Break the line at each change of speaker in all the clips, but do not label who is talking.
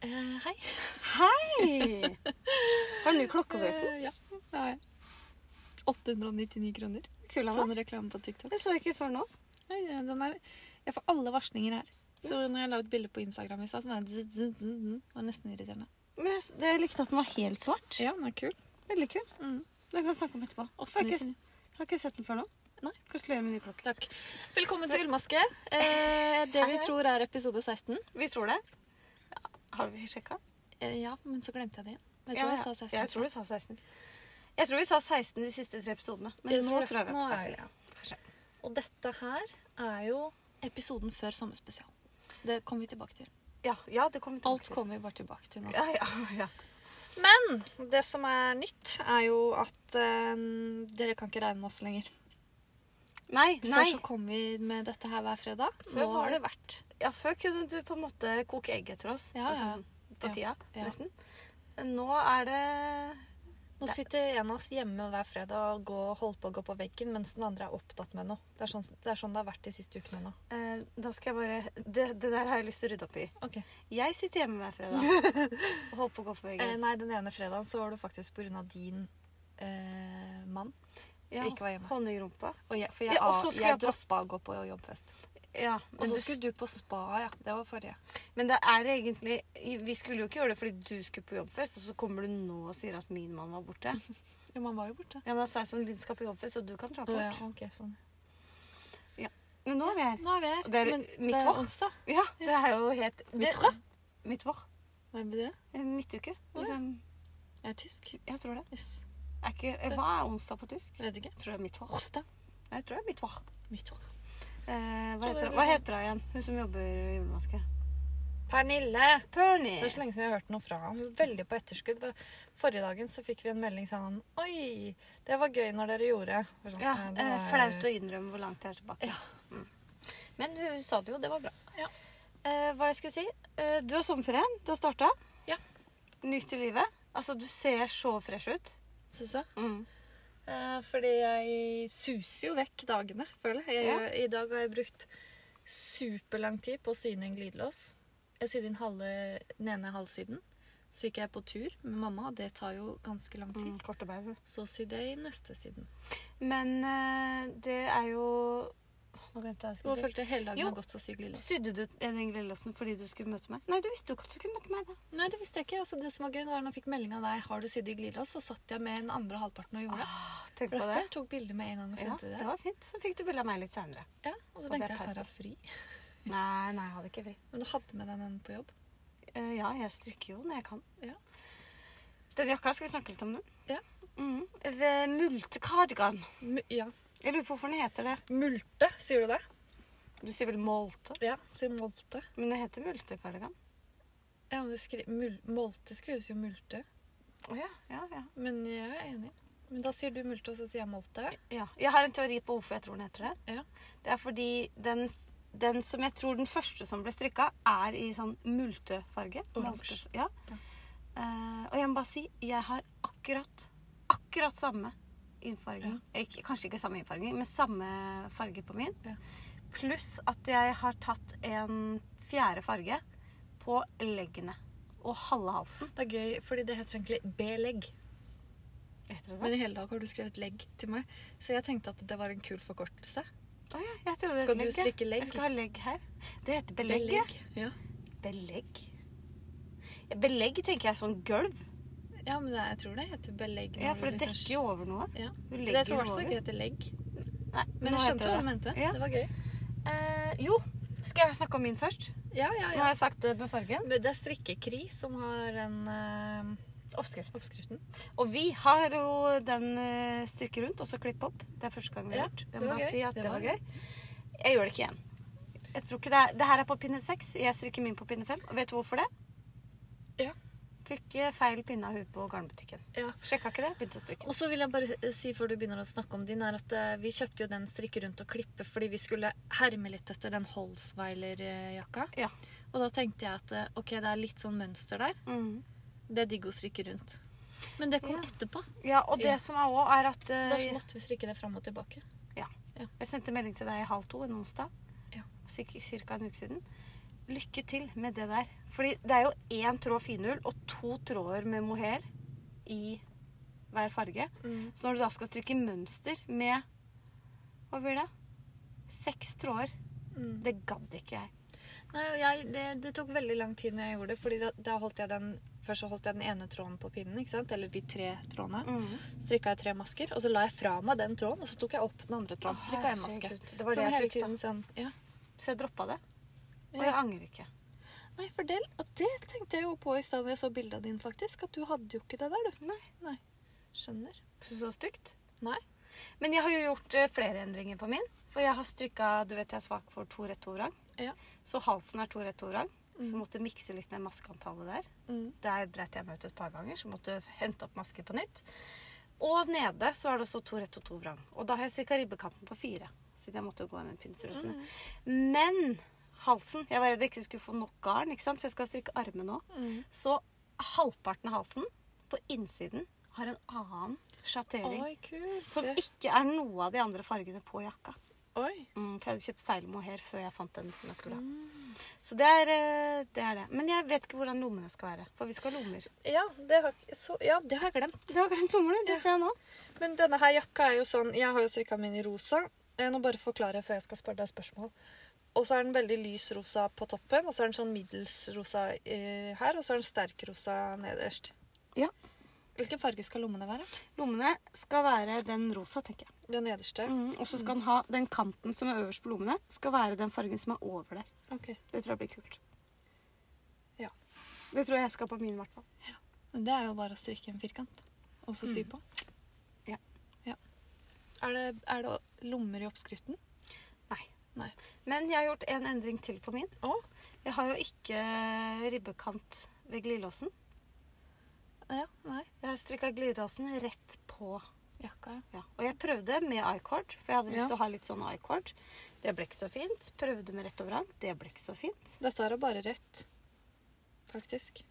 Eh, hei.
Hei! Har du ny klokke, forresten?
Eh, ja, det har jeg. 899 kroner.
Kul av meg.
Sånn reklame på TikTok.
Jeg så ikke før nå.
Nei, ja, den er, jeg får alle varslinger her. Så når jeg la ut bilde på Instagram i stad, så var det zzz, zzz, zzz, zzz. Det var nesten irriterende.
Men jeg, jeg likte at den var helt svart.
Ja, den er kul.
Veldig kul.
Mm.
Den kan vi snakke om etterpå. Har ikke,
899.
har ikke sett den før nå.
Nei.
Gratulerer med ny klokke.
Takk. Velkommen til Ullmaske. Eh, det vi tror er episode 16.
Vi tror det. Har vi sjekka?
Eh, ja, men så glemte jeg det igjen. Jeg tror jeg sa 16.
Jeg tror vi sa 16. Jeg tror vi sa 16 de siste tre episodene. Men
Jeg
nå
tror
tror,
det.
jeg vi er på
Nå er
16.
vi- Og dette her er jo episoden før sommerspesial. Det kommer vi tilbake til.
Ja, ja, det kommer vi tilbake
Alt kommer vi bare tilbake til nå.
til. Ja, ja, ja.
Men det som er nytt, er jo at eh, dere kan ikke regne med oss lenger.
Nei, nei.
Før så kom vi med dette her hver fredag.
Før
Nå
var
har det vært
Ja, før kunne du på en måte koke egg etter oss.
Ja, ja.
Altså, på
Ja,
tida,
ja.
nesten. Nå er det
Nå sitter en av oss hjemme hver fredag og går, holder på å gå på veggen, mens den andre er opptatt med noe. Det er sånn det, er sånn det har vært de siste ukene nå.
eh, Da skal jeg bare det, det der har jeg lyst til å rydde opp i.
Ok.
Jeg sitter hjemme hver fredag og holder på å gå på
Eh,
veggen.
nei, den ene fredagen så var det faktisk på grunn av din eh, mann.
Ja,
ikke var hjemme.
Honningrumpa.
Og jeg, for jeg,
Ja, og så
av-
skulle
jeg
jeg på-
droppa å gå på jobbfest.
Ja,
Og
men,
så
du,
skulle du på spa, ja. Det var forrige.
men det er egentlig Vi skulle jo ikke gjøre det fordi du skulle på jobbfest, og så kommer du nå og sier at min mann var borte.
Jo, man var jo borte.
Ja, men da sa jeg sånn Linn skal på jobbfest, og du kan dra
Å,
bort.
ja, ok, sånn.
Men nå er vi her.
Nå er vi her.
Det er
men
mitt
det er
vår.
onsdag.
Ja, det er jo helt
Mitt
det-
vår?
Mitt vår.
Hva betyr det?
En Midtuke.
Å, ja.
Liksom,
Jeg er tysk.
jeg tror det.
Yes.
Er ikke, eh, hva er onsdag på tysk?
Vet ikke.
Jeg tror det er mitt hår.
Onsdag.
Nei, Jeg tror det er mitt hår.
Mitt år.
Eh, hva,
Tror det
heter,
blir
hva
sånn.
heter hun igjen? Hun som jobber i julevaske?
Pernille!
Perny.
Det er så lenge siden vi har hørt noe fra ham. Hun er Veldig på etterskudd. Forrige dagen så fikk vi en melding sånn Oi, det var gøy når dere gjorde. Det var Sånn,
Ja,
«Nei, det
eh,
var-
flaut å innrømme hvor langt det er tilbake.
Ja.
Mm. Men hun sa det jo, det var bra.
Ja.
Eh, hva er det jeg skulle si? Eh, du har sommerferien. Du har starta.
Ja.
Nytt i livet. Altså, du ser så fresh ut.
Syns du?
Mm.
Eh, fordi jeg suser jo vekk dagene, føler jeg. jeg. I dag har jeg brukt superlang tid på å sy inn glidelås. Jeg sydde inn halve, den ene halvsiden. Så gikk jeg på tur med mamma. Det tar jo ganske lang tid.
Mm, korte bein.
Så sydde jeg i neste siden.
Men eh, det er jo Nå glemte jeg hva jeg
Nå
skulle si.
følte jeg hele dagen
Jo.
har gått til å sy glidelås.
Sydde du den glidelåsen fordi du skulle møte meg? Nei, du visste jo ikke at du skulle møte meg. da.
Nei, det visste jeg ikke. Også det som var gøy, var når jeg fikk melding av deg har du sydd i glidelås, så satt jeg med den andre halvparten og gjorde det.
Tenk på
Derfor
Ah, det.
jeg tok bilde med en gang og
Ja,
sendte
det
det.
var fint. Så fikk du bilde av meg litt seinere.
Ja, og så
Og det er
tenkte jeg
pause.
har jeg fri.
Nei, nei, jeg hadde ikke fri.
Men du hadde med deg den på jobb.
Eh, ja, jeg strikker jo når jeg kan.
Ja.
Den jakka, skal vi snakke litt om den?
Ja.
Mm. Ved multekardigan.
M ja.
Jeg lurer på hvorfor den heter det.
Multe, sier du det?
Du sier vel molte,
Ja, sier molte.
men det heter multekardigan.
Ja, men det skri mul molte skrives jo multe.
Å ja, ja, ja.
Men jeg er enig. Men da sier du multe, og så sier jeg molte.
ja. Jeg har en teori på hvorfor jeg tror den heter det.
Ja.
Det er fordi den, den som jeg tror den første som ble strikka, er i sånn multefarge.
Oransje.
Molte- Ja.
Ja.
Eh, og jeg må bare si, jeg har akkurat, akkurat samme innfarging. Ikke, kanskje ikke samme innfarging, men samme farge på min.
Ja.
Pluss at jeg har tatt en fjerde farge på leggene og halve halsen.
Det er gøy, fordi det heter egentlig B-legg.
Heter det det?
Men i hele dag har du skrevet legg til meg, så jeg tenkte at det var en kul forkortelse.
Å ja, jeg trodde det
Skal
het
du
legg, ja.
strikke legg?
Jeg skal ha legg her. Det heter belegg. ja.
Belegg. Ja.
Belegg. Ja, belegg tenker jeg er sånn gulv.
Ja, men det, jeg tror det heter belegg. sånn.
Ja, for det dekker jo over noe.
Ja.
Du
Jeg tror
legger
i hvert fall
over.
ikke det heter legg.
Nei,
Men
nå
jeg skjønte
heter
hva
det
du mente.
Ja.
Det var gøy.
Eh, jo, skal jeg snakke om min først?
Ja, ja,
Nå
ja.
har jeg sagt det med fargen.
Men det er strikkekri som har den eh,
Oppskriften.
oppskriften.
Og vi har jo den eh, strikke rundt og så klippe opp. Det er første gang vi har
Ja,
gjort.
det
Jeg må
var
bare
gøy.
si at
Det
det,
var
var gøy. Jeg gjør det ikke igjen. Jeg tror ikke det, er, det her er på pinne seks. Jeg strikker min på pinne fem. Og vet du hvorfor det?
Ja.
Fikk eh, feil pinne av huet på garnbutikken.
Ja.
Sjekka ikke det, begynte å strikke.
Og så vil jeg bare eh, si før du begynner å snakke om din, er at eh, vi kjøpte jo den strikke rundt og klippe fordi vi skulle herme litt etter den Holsweiler-jakka.
Ja.
Og da tenkte jeg at eh, ok, det er litt sånn mønster der.
Mhm.
Det er digg å strikke rundt. Men det kom
Ja.
etterpå,
Ja, og det
Ja.
som er òg, er at
så
eh,
derfor måtte vi strikke det fram og tilbake.
Jeg sendte melding til deg halv to en onsdag.
Ja.
ca. en uke siden. Lykke til med det der. Fordi det er jo én tråd finull og to tråder med mohair i hver farge.
Mm.
Så når du da skal strikke mønster med Hva blir det? Seks tråder.
Mm.
Det gadd ikke jeg.
Nei, og jeg, det, det tok veldig lang tid når jeg gjorde det, fordi da, da holdt jeg den Først så holdt jeg den ene tråden på pinnen, ikke sant? eller de tre trådene. Strikka jeg tre masker, og så la jeg fra meg den tråden, og så tok jeg opp den andre tråden. Strikka en maske.
Herregud, Det var det
sånn
jeg
hele
frykta.
tiden sånn. Ja.
Så jeg droppa det. Og
Ja.
jeg angrer ikke.
Nei, for det, og det tenkte jeg jo på i stad da jeg så bildet av din, faktisk. At du hadde jo ikke det der, du.
Nei.
Skjønner.
Så, så stygt.
Nei.
Men jeg har jo gjort eh, flere endringer på min. For jeg har strikka Du vet jeg er svak for to rett to vrang.
Ja.
Så halsen er to rett to vrang. Så
Mhm.
måtte mikse litt med maskeantallet der.
Mm.
Der dreit jeg meg ut et par ganger, så måtte jeg hente opp maske på nytt. Og nede så er det også to rett og to vrang. Og da har jeg strikka ribbekanten på fire. Siden jeg måtte jo gå inn en pinseløsning. Men halsen Jeg var redd jeg ikke skulle få nok garn, ikke sant? for jeg skal strikke armen nå.
Mm.
Så halvparten av halsen på innsiden har en annen sjattering.
Oi, kult.
Som ikke er noe av de andre fargene på jakka.
Oi.
Mm, for jeg hadde kjøpt feil mohair før jeg fant den som jeg skulle ha.
Mm.
Så det er, eh, det er det. Men jeg vet ikke hvordan lommene skal være. For vi skal ha lommer.
Ja, det har, ikke- så, ja, det har jeg glemt.
Du har glemt lommene, det ser jeg nå.
Men denne her jakka er jo sånn Jeg har jo strikka min i rosa. Eh, Nå bare forklarer jeg før jeg skal spørre deg spørsmål. Og så er den veldig lys rosa på toppen, og så er den sånn middels rosa eh, her, og så er den sterk rosa nederst.
Ja.
Hvilken farge skal lommene være?
Lommene skal være den rosa, tenker jeg.
Den nederste?
Mm, og så skal den ha den kanten som er øverst på lommene, skal være den fargen som er over der.
Ok.
Det tror jeg blir kult.
Ja.
Det tror jeg jeg skal på min, i hvert fall.
Men det er jo bare å strikke en firkant, og så sy
Mm.
på.
Ja.
Ja. Er, det, er det lommer i oppskriften?
Men jeg har gjort en endring til på min.
Å?
Jeg har jo ikke ribbekant ved glidelåsen.
Ja, nei.
Jeg har strikka glidelåsen rett på.
Jakka, ja.
Ja. Og jeg prøvde med i-cord, for jeg hadde lyst
Ja.
til å ha litt sånn i-cord. Det ble ikke så fint. Prøvde med rett og vrang. Det ble ikke så fint.
Dette her er bare rett, faktisk.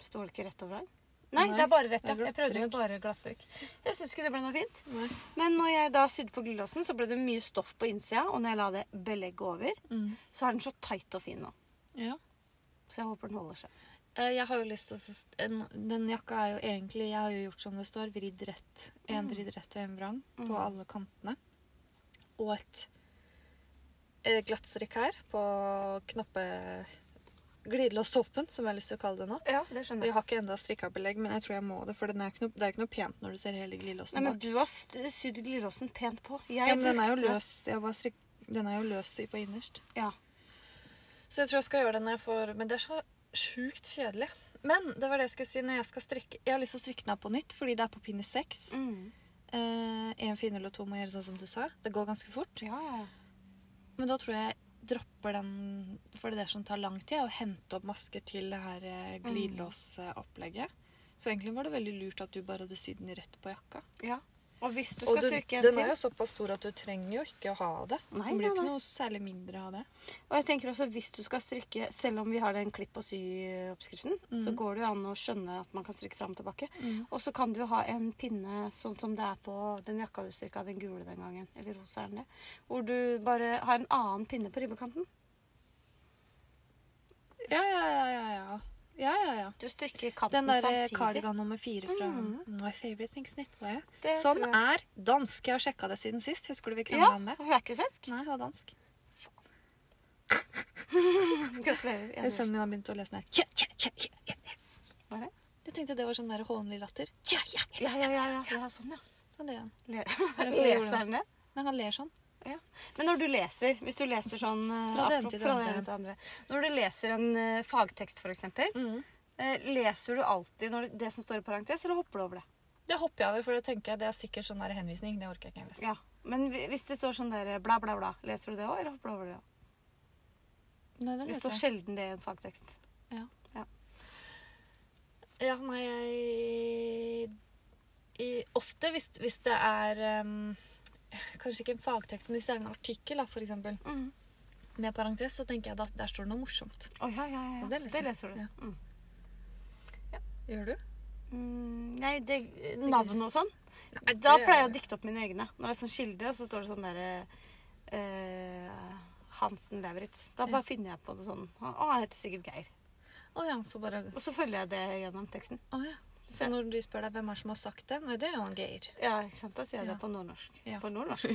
Står det ikke rett og vrang? Nei,
Nei,
det er bare rett.
det er
ja. Jeg prøvde
glasstrykk.
med bare glasstrykk. Jeg syns ikke det ble noe fint.
Nei.
Men når jeg da sydde på glidelåsen, så ble det mye stoff på innsida. Og når jeg la det belegget over, så er den så tight og fin nå.
Mm. Ja.
Så jeg håper den holder seg.
Eh, Jeg har jo lyst til å s- en- Den jakka er jo egentlig Jeg har jo gjort som det står, vridd rett. En
Mm.
vridd rett og en vrang på
Mm.
alle kantene.
Og et eh, glattstrikk her på knappe... Glidelåsstolpen, som jeg har lyst til å kalle det nå.
Ja, det
Og Jeg har ikke enda strikka belegg, men jeg tror jeg må det. For den er ikke noe, det er ikke noe pent når du ser hele glidelåsen
Nei, men
bak.
du har st- sydd glidelåsen pent på. Jeg
Ja, men den er jo
brukte-
løs. Jeg bare strik, den er jo løs i- på innerst.
Ja.
Så jeg tror jeg skal gjøre det når jeg får Men det er så sjukt kjedelig. Men det var det jeg skulle si når jeg skal strikke. Jeg har lyst til å strikke den her på nytt, fordi det er på pinne seks.
Mm.
Én finull og to må gjøre sånn som du sa. Det går ganske fort.
Ja, ja, ja.
Men da tror jeg jeg dropper den, for det er det som tar lang tid, å hente opp masker til det her eh,
Mm.
glidelåsopplegget. Så egentlig var det veldig lurt at du bare hadde sydd den rett på jakka.
ja. Og hvis du
Og
skal
du,
strikke en
den
til
er jo såpass stor at du trenger jo ikke å ha det.
Nei,
det blir
nei,
jo
nei.
ikke noe særlig mindre av det.
Og jeg tenker også hvis du skal strikke, selv om vi har den klipp og sy-oppskriften, så
Mhm.
går det jo an å skjønne at man kan strikke fram og tilbake. Og så kan du jo ha en pinne sånn som det er på den jakka du strikka, den gule den gangen, eller rosa er den det, hvor du bare har en annen pinne på ribbekanten.
Ja, ja, ja, ja, ja. ja, ja, ja.
Du strikker kanten
Den der eh,
samtidig.
cardigan nummer fire fra
Mm.
My Favorite Things Knitware.
Det
Som
tror jeg.
er dansk. Jeg har sjekka det siden sist. Husker du vi krangla
Ja,
om det?
og hun er ikke svensk.
Nei, det var dansk.
Gratulerer.
Eh,
enig.
Sønnen min har begynt å lese den her. Tja, tja, tja, tja, tja.
Hva er det?
Jeg tenkte det var sånn der hånlig latter. Tja, ja, ja.
Ja, ja, ja, ja. ja sånn, ja.
Sånn det er han.
Le
Eller for å gjøre
Leser
det.
den det?
Nei, han ler sånn.
Men når du leser, hvis du leser sånn eh,
Fra det ene
apro-
til det
fra
andre.
ene til det andre Når du leser en eh, fagtekst, f.eks., eksempel
Mm.
eh, leser du alltid når det, det som står i parentes, eller hopper du over det?
Det hopper jeg over, for det tenker jeg det er sikkert sånn der henvisning. Det orker jeg ikke lese.
Ja. Men hvi- hvis det står sånn der eh, bla, bla, bla, leser du det òg, eller hopper du over det? også?
Nei, det
Det står
leser jeg.
sjelden det i en fagtekst.
Ja, nei, jeg i, Ofte hvis, hvis det er ehm, Kanskje ikke en fagtekst, men hvis det er en artikkel, da, for eksempel,
Å
med parentes, så tenker jeg at der står det noe morsomt.
ja, ja, ja.
Ja,
ja.
det
Så
leser
Det
jeg.
leser du.
Ja.
Mm.
Gjør du?
Mm, nei, det, navn og sånn. Da pleier jeg å dikte opp mine egne. Når det er sånn kilde, så står det sånn derre eh, Hansen Lauritz. Da bare finner jeg på det sånn. Å, han heter sikkert Geir.
Å ja, så bare
Og så følger jeg det gjennom teksten.
Å ja. Så når du spør deg hvem er som har sagt det, nei, det er jo han Geir.
Ja, ikke sant? Da sier jeg
Ja.
det på nordnorsk.
Ja.
På nordnorsk.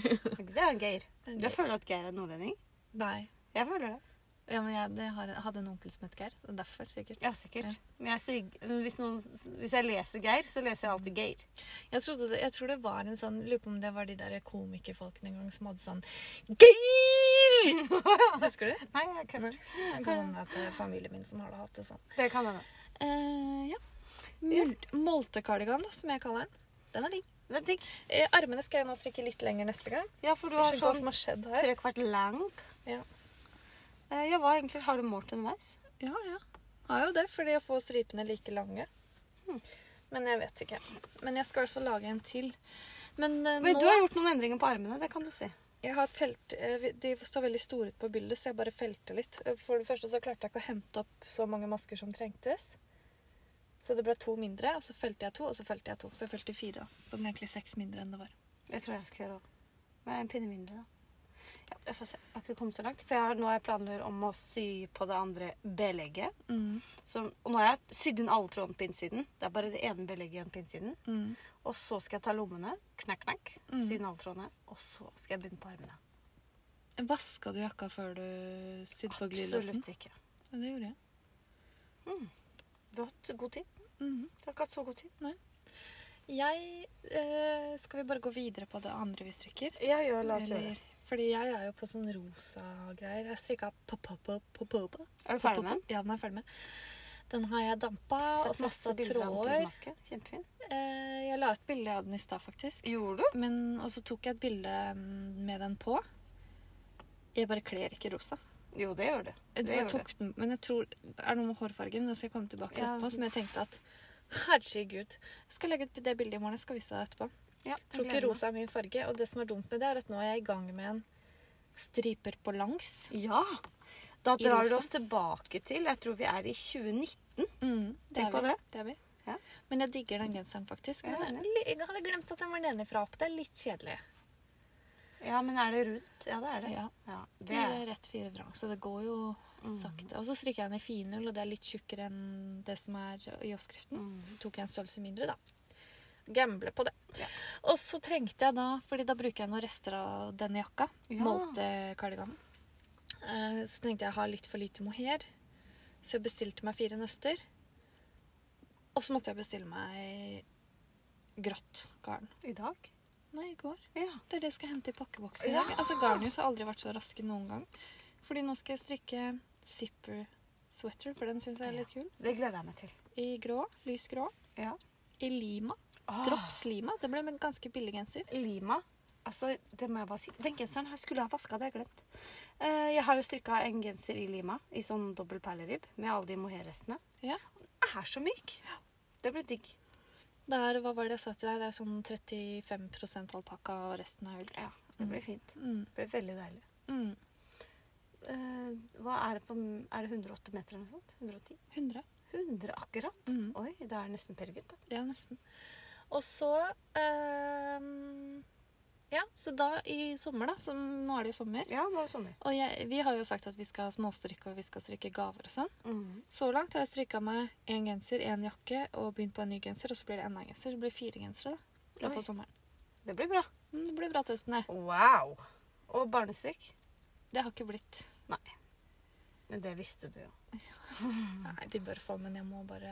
Det er Geir.
Det er
Jeg
Geir.
føler at Geir er nordlending.
Nei.
Jeg føler det.
Ja, men jeg det har, hadde en onkel som het Geir. Det er derfor, sikkert.
Ja, sikkert. Men jeg sier, hvis, noen, hvis jeg leser Geir, så leser jeg alltid Geir.
Jeg, trodde det, jeg tror det var en sånn Lurer på om det var de der komikerfolkene en gang som hadde sånn Geir! Husker du?
Nei, jeg kødder.
Det kan hende at det er familien min som har hatt det sånn.
Mm. Det kan hende.
Eh, ja. Mul Moltekardigan, da, som jeg kaller den. Den er digg.
Det er digg.
Eh, armene skal jeg nå strikke litt lenger neste gang.
Ja, for du
Jeg
har
skjønner ikke hva
sånn
som har skjedd her.
trekvart lang.
Ja.
Eh, Ja, hva egentlig har du målt underveis?
Ja, ja. Har jo det, fordi jeg får stripene like lange. Hmm. Men jeg vet ikke. Men jeg skal i hvert fall lage en til. Men eh,
Men
nå
du har gjort noen endringer på armene, det kan du si.
Jeg har et felt eh, vi- De står veldig store ut på bildet, så jeg bare felter litt. Eh, For det første så klarte jeg ikke å hente opp så mange masker som trengtes. Så det ble to mindre, og så felte jeg to, og så felte jeg to. Så jeg felte fire. Så det ble egentlig seks mindre enn det var.
Det tror jeg jeg skal gjøre òg. Med en pinne mindre, da. Ja, jeg får se. Jeg har ikke kommet så langt. For jeg har, nå har jeg planer om å sy på det andre belegget.
Mm,
Som, og nå har jeg sydd inn alle trådene på innsiden. Det er bare det ene belegget igjen på innsiden.
mm.
Og så skal jeg ta lommene, knakk, knakk, sy inn alle trådene. Og så skal jeg begynne på armene.
Vaska du jakka før du sydde på glidelåsen?
Absolutt ikke.
Ja, det gjorde jeg.
Du har hatt god tid.
Mhm.
Du har ikke hatt så god tid.
Jeg eh, Skal vi bare gå videre på det andre vi strikker?
Ja, ja,
Eller- Fordi jeg er jo på sånn rosa greier. Jeg strikka pa-pa-pa-pa-pa.
Er du ferdig med den?
Ja, den er jeg ferdig med. Den har jeg dampa og
Sett masse
festa
bilder av
tråder.
brudemaske. Kjempefin.
Eh, Jeg la ut bilde av den i stad, faktisk.
Gjorde du?
Men, og så tok jeg et bilde mm, med den på. Jeg bare kler ikke rosa.
Jo, det gjør du.
Jeg
Det gjør
tok den, men jeg tror det er noe med hårfargen. Det skal jeg komme tilbake til
Ja.
etterpå. Som jeg tenkte at herregud, jeg skal legge ut det bildet i morgen. Jeg skal vise deg det etterpå.
Ja,
Jeg tror ikke rosa er min farge. Og det som er dumt med det, er at nå er jeg i gang med en striper på langs.
Ja. Da
I
drar
rosa.
du oss tilbake til Jeg tror vi er i 2019.
Mm, det
Tenk
er
på
vi.
det.
er vi.
Ja.
Men jeg digger den genseren, faktisk.
Jeg er
Men jeg, jeg hadde glemt at den var nedenfra opp. Det er litt kjedelig.
Ja, men er det rundt? Ja, det er det.
Ja.
Ja, det Mm.
Fire,
er.
rett fire vrang, så det går jo sakte. Og så strikker jeg den i finull, og det er litt tjukkere enn det som er i oppskriften.
Mm.
Så tok jeg en størrelse mindre, da. Gamble på det.
Ja.
Og så trengte jeg da, fordi da bruker jeg noen rester av denne jakka,
Ja.
molte-kardiganen. Eh, Så tenkte jeg jeg har litt for lite mohair, så jeg bestilte meg fire nøster. Og så måtte jeg bestille meg grått garn.
I dag?
Nei, i går.
Ja.
Det er det jeg skal hente i pakkeboksen i
Ja!
dag. Altså, Garnius har aldri vært så raske noen gang. Fordi nå skal jeg strikke zipper sweater, for den syns jeg er litt kul.
Det gleder jeg meg til.
I grå. Lys grå.
Ja.
I lima. Droppslima. Det ble en ganske billig genser.
Lima. Altså, det må jeg bare si. Den genseren her skulle jeg ha vaska, det har jeg glemt. Eh, Jeg har jo strikka en genser i Lima, i sånn dobbel perleribb, med alle de mohairrestene.
Ja.
Den er så myk! Det blir digg.
Det er, hva var det jeg sa til deg? Det er sånn 35 alpakka, og resten er ull.
Ja, det blir fint.
Mm.
Det blir veldig deilig.
Mm.
Eh, Hva er det på Er det 108 meter eller noe sånt? 110?
100.
100 akkurat?
Mhm.
Oi, da er det nesten Peer Gynt, da.
Ja, nesten. Og så ehm, Ja, så da i sommer, da, som nå er det jo sommer
Ja, nå er det sommer.
Og jeg, vi har jo sagt at vi skal småstrikke, og vi skal strikke gaver og sånn.
Mhm.
Så langt har jeg strikka meg én genser, én jakke og begynt på en ny genser. Og så blir det enda en genser. Det blir fire gensere da, i løpet
Oi.
av sommeren.
Det blir bra.
Mm, Det blir bra til høsten, det.
Wow! Og barnestrikk?
Det har ikke blitt
Nei. Men det visste du jo.
Nei, de bør få, men jeg må bare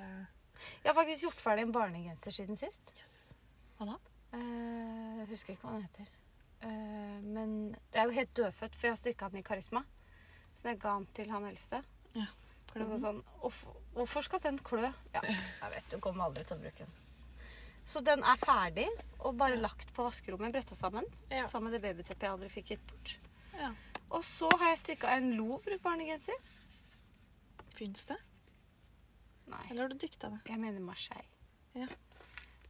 Jeg har faktisk gjort ferdig en barnegenser siden sist.
Jøss. Hva da?
Eh, husker ikke hva den heter. Eh, men det er jo helt dødfødt, for jeg har strikka den i Karisma. Så jeg ga den til han eldste.
Klør
Og
den?
Sånn, "Hvorfor- hvorfor skal den klø? Ja, jeg vet, du kommer aldri til å bruke den. Så den er ferdig, og bare lagt på vaskerommet, bretta sammen.
Ja.
Sammen med det babyteppet jeg aldri fikk gitt bort.
sånn. Ja.
Og så har jeg strikka en Louvre-barnegenser.
Fins det?
Nei,
Eller har du dikta det?
jeg mener Marseille.
Ja.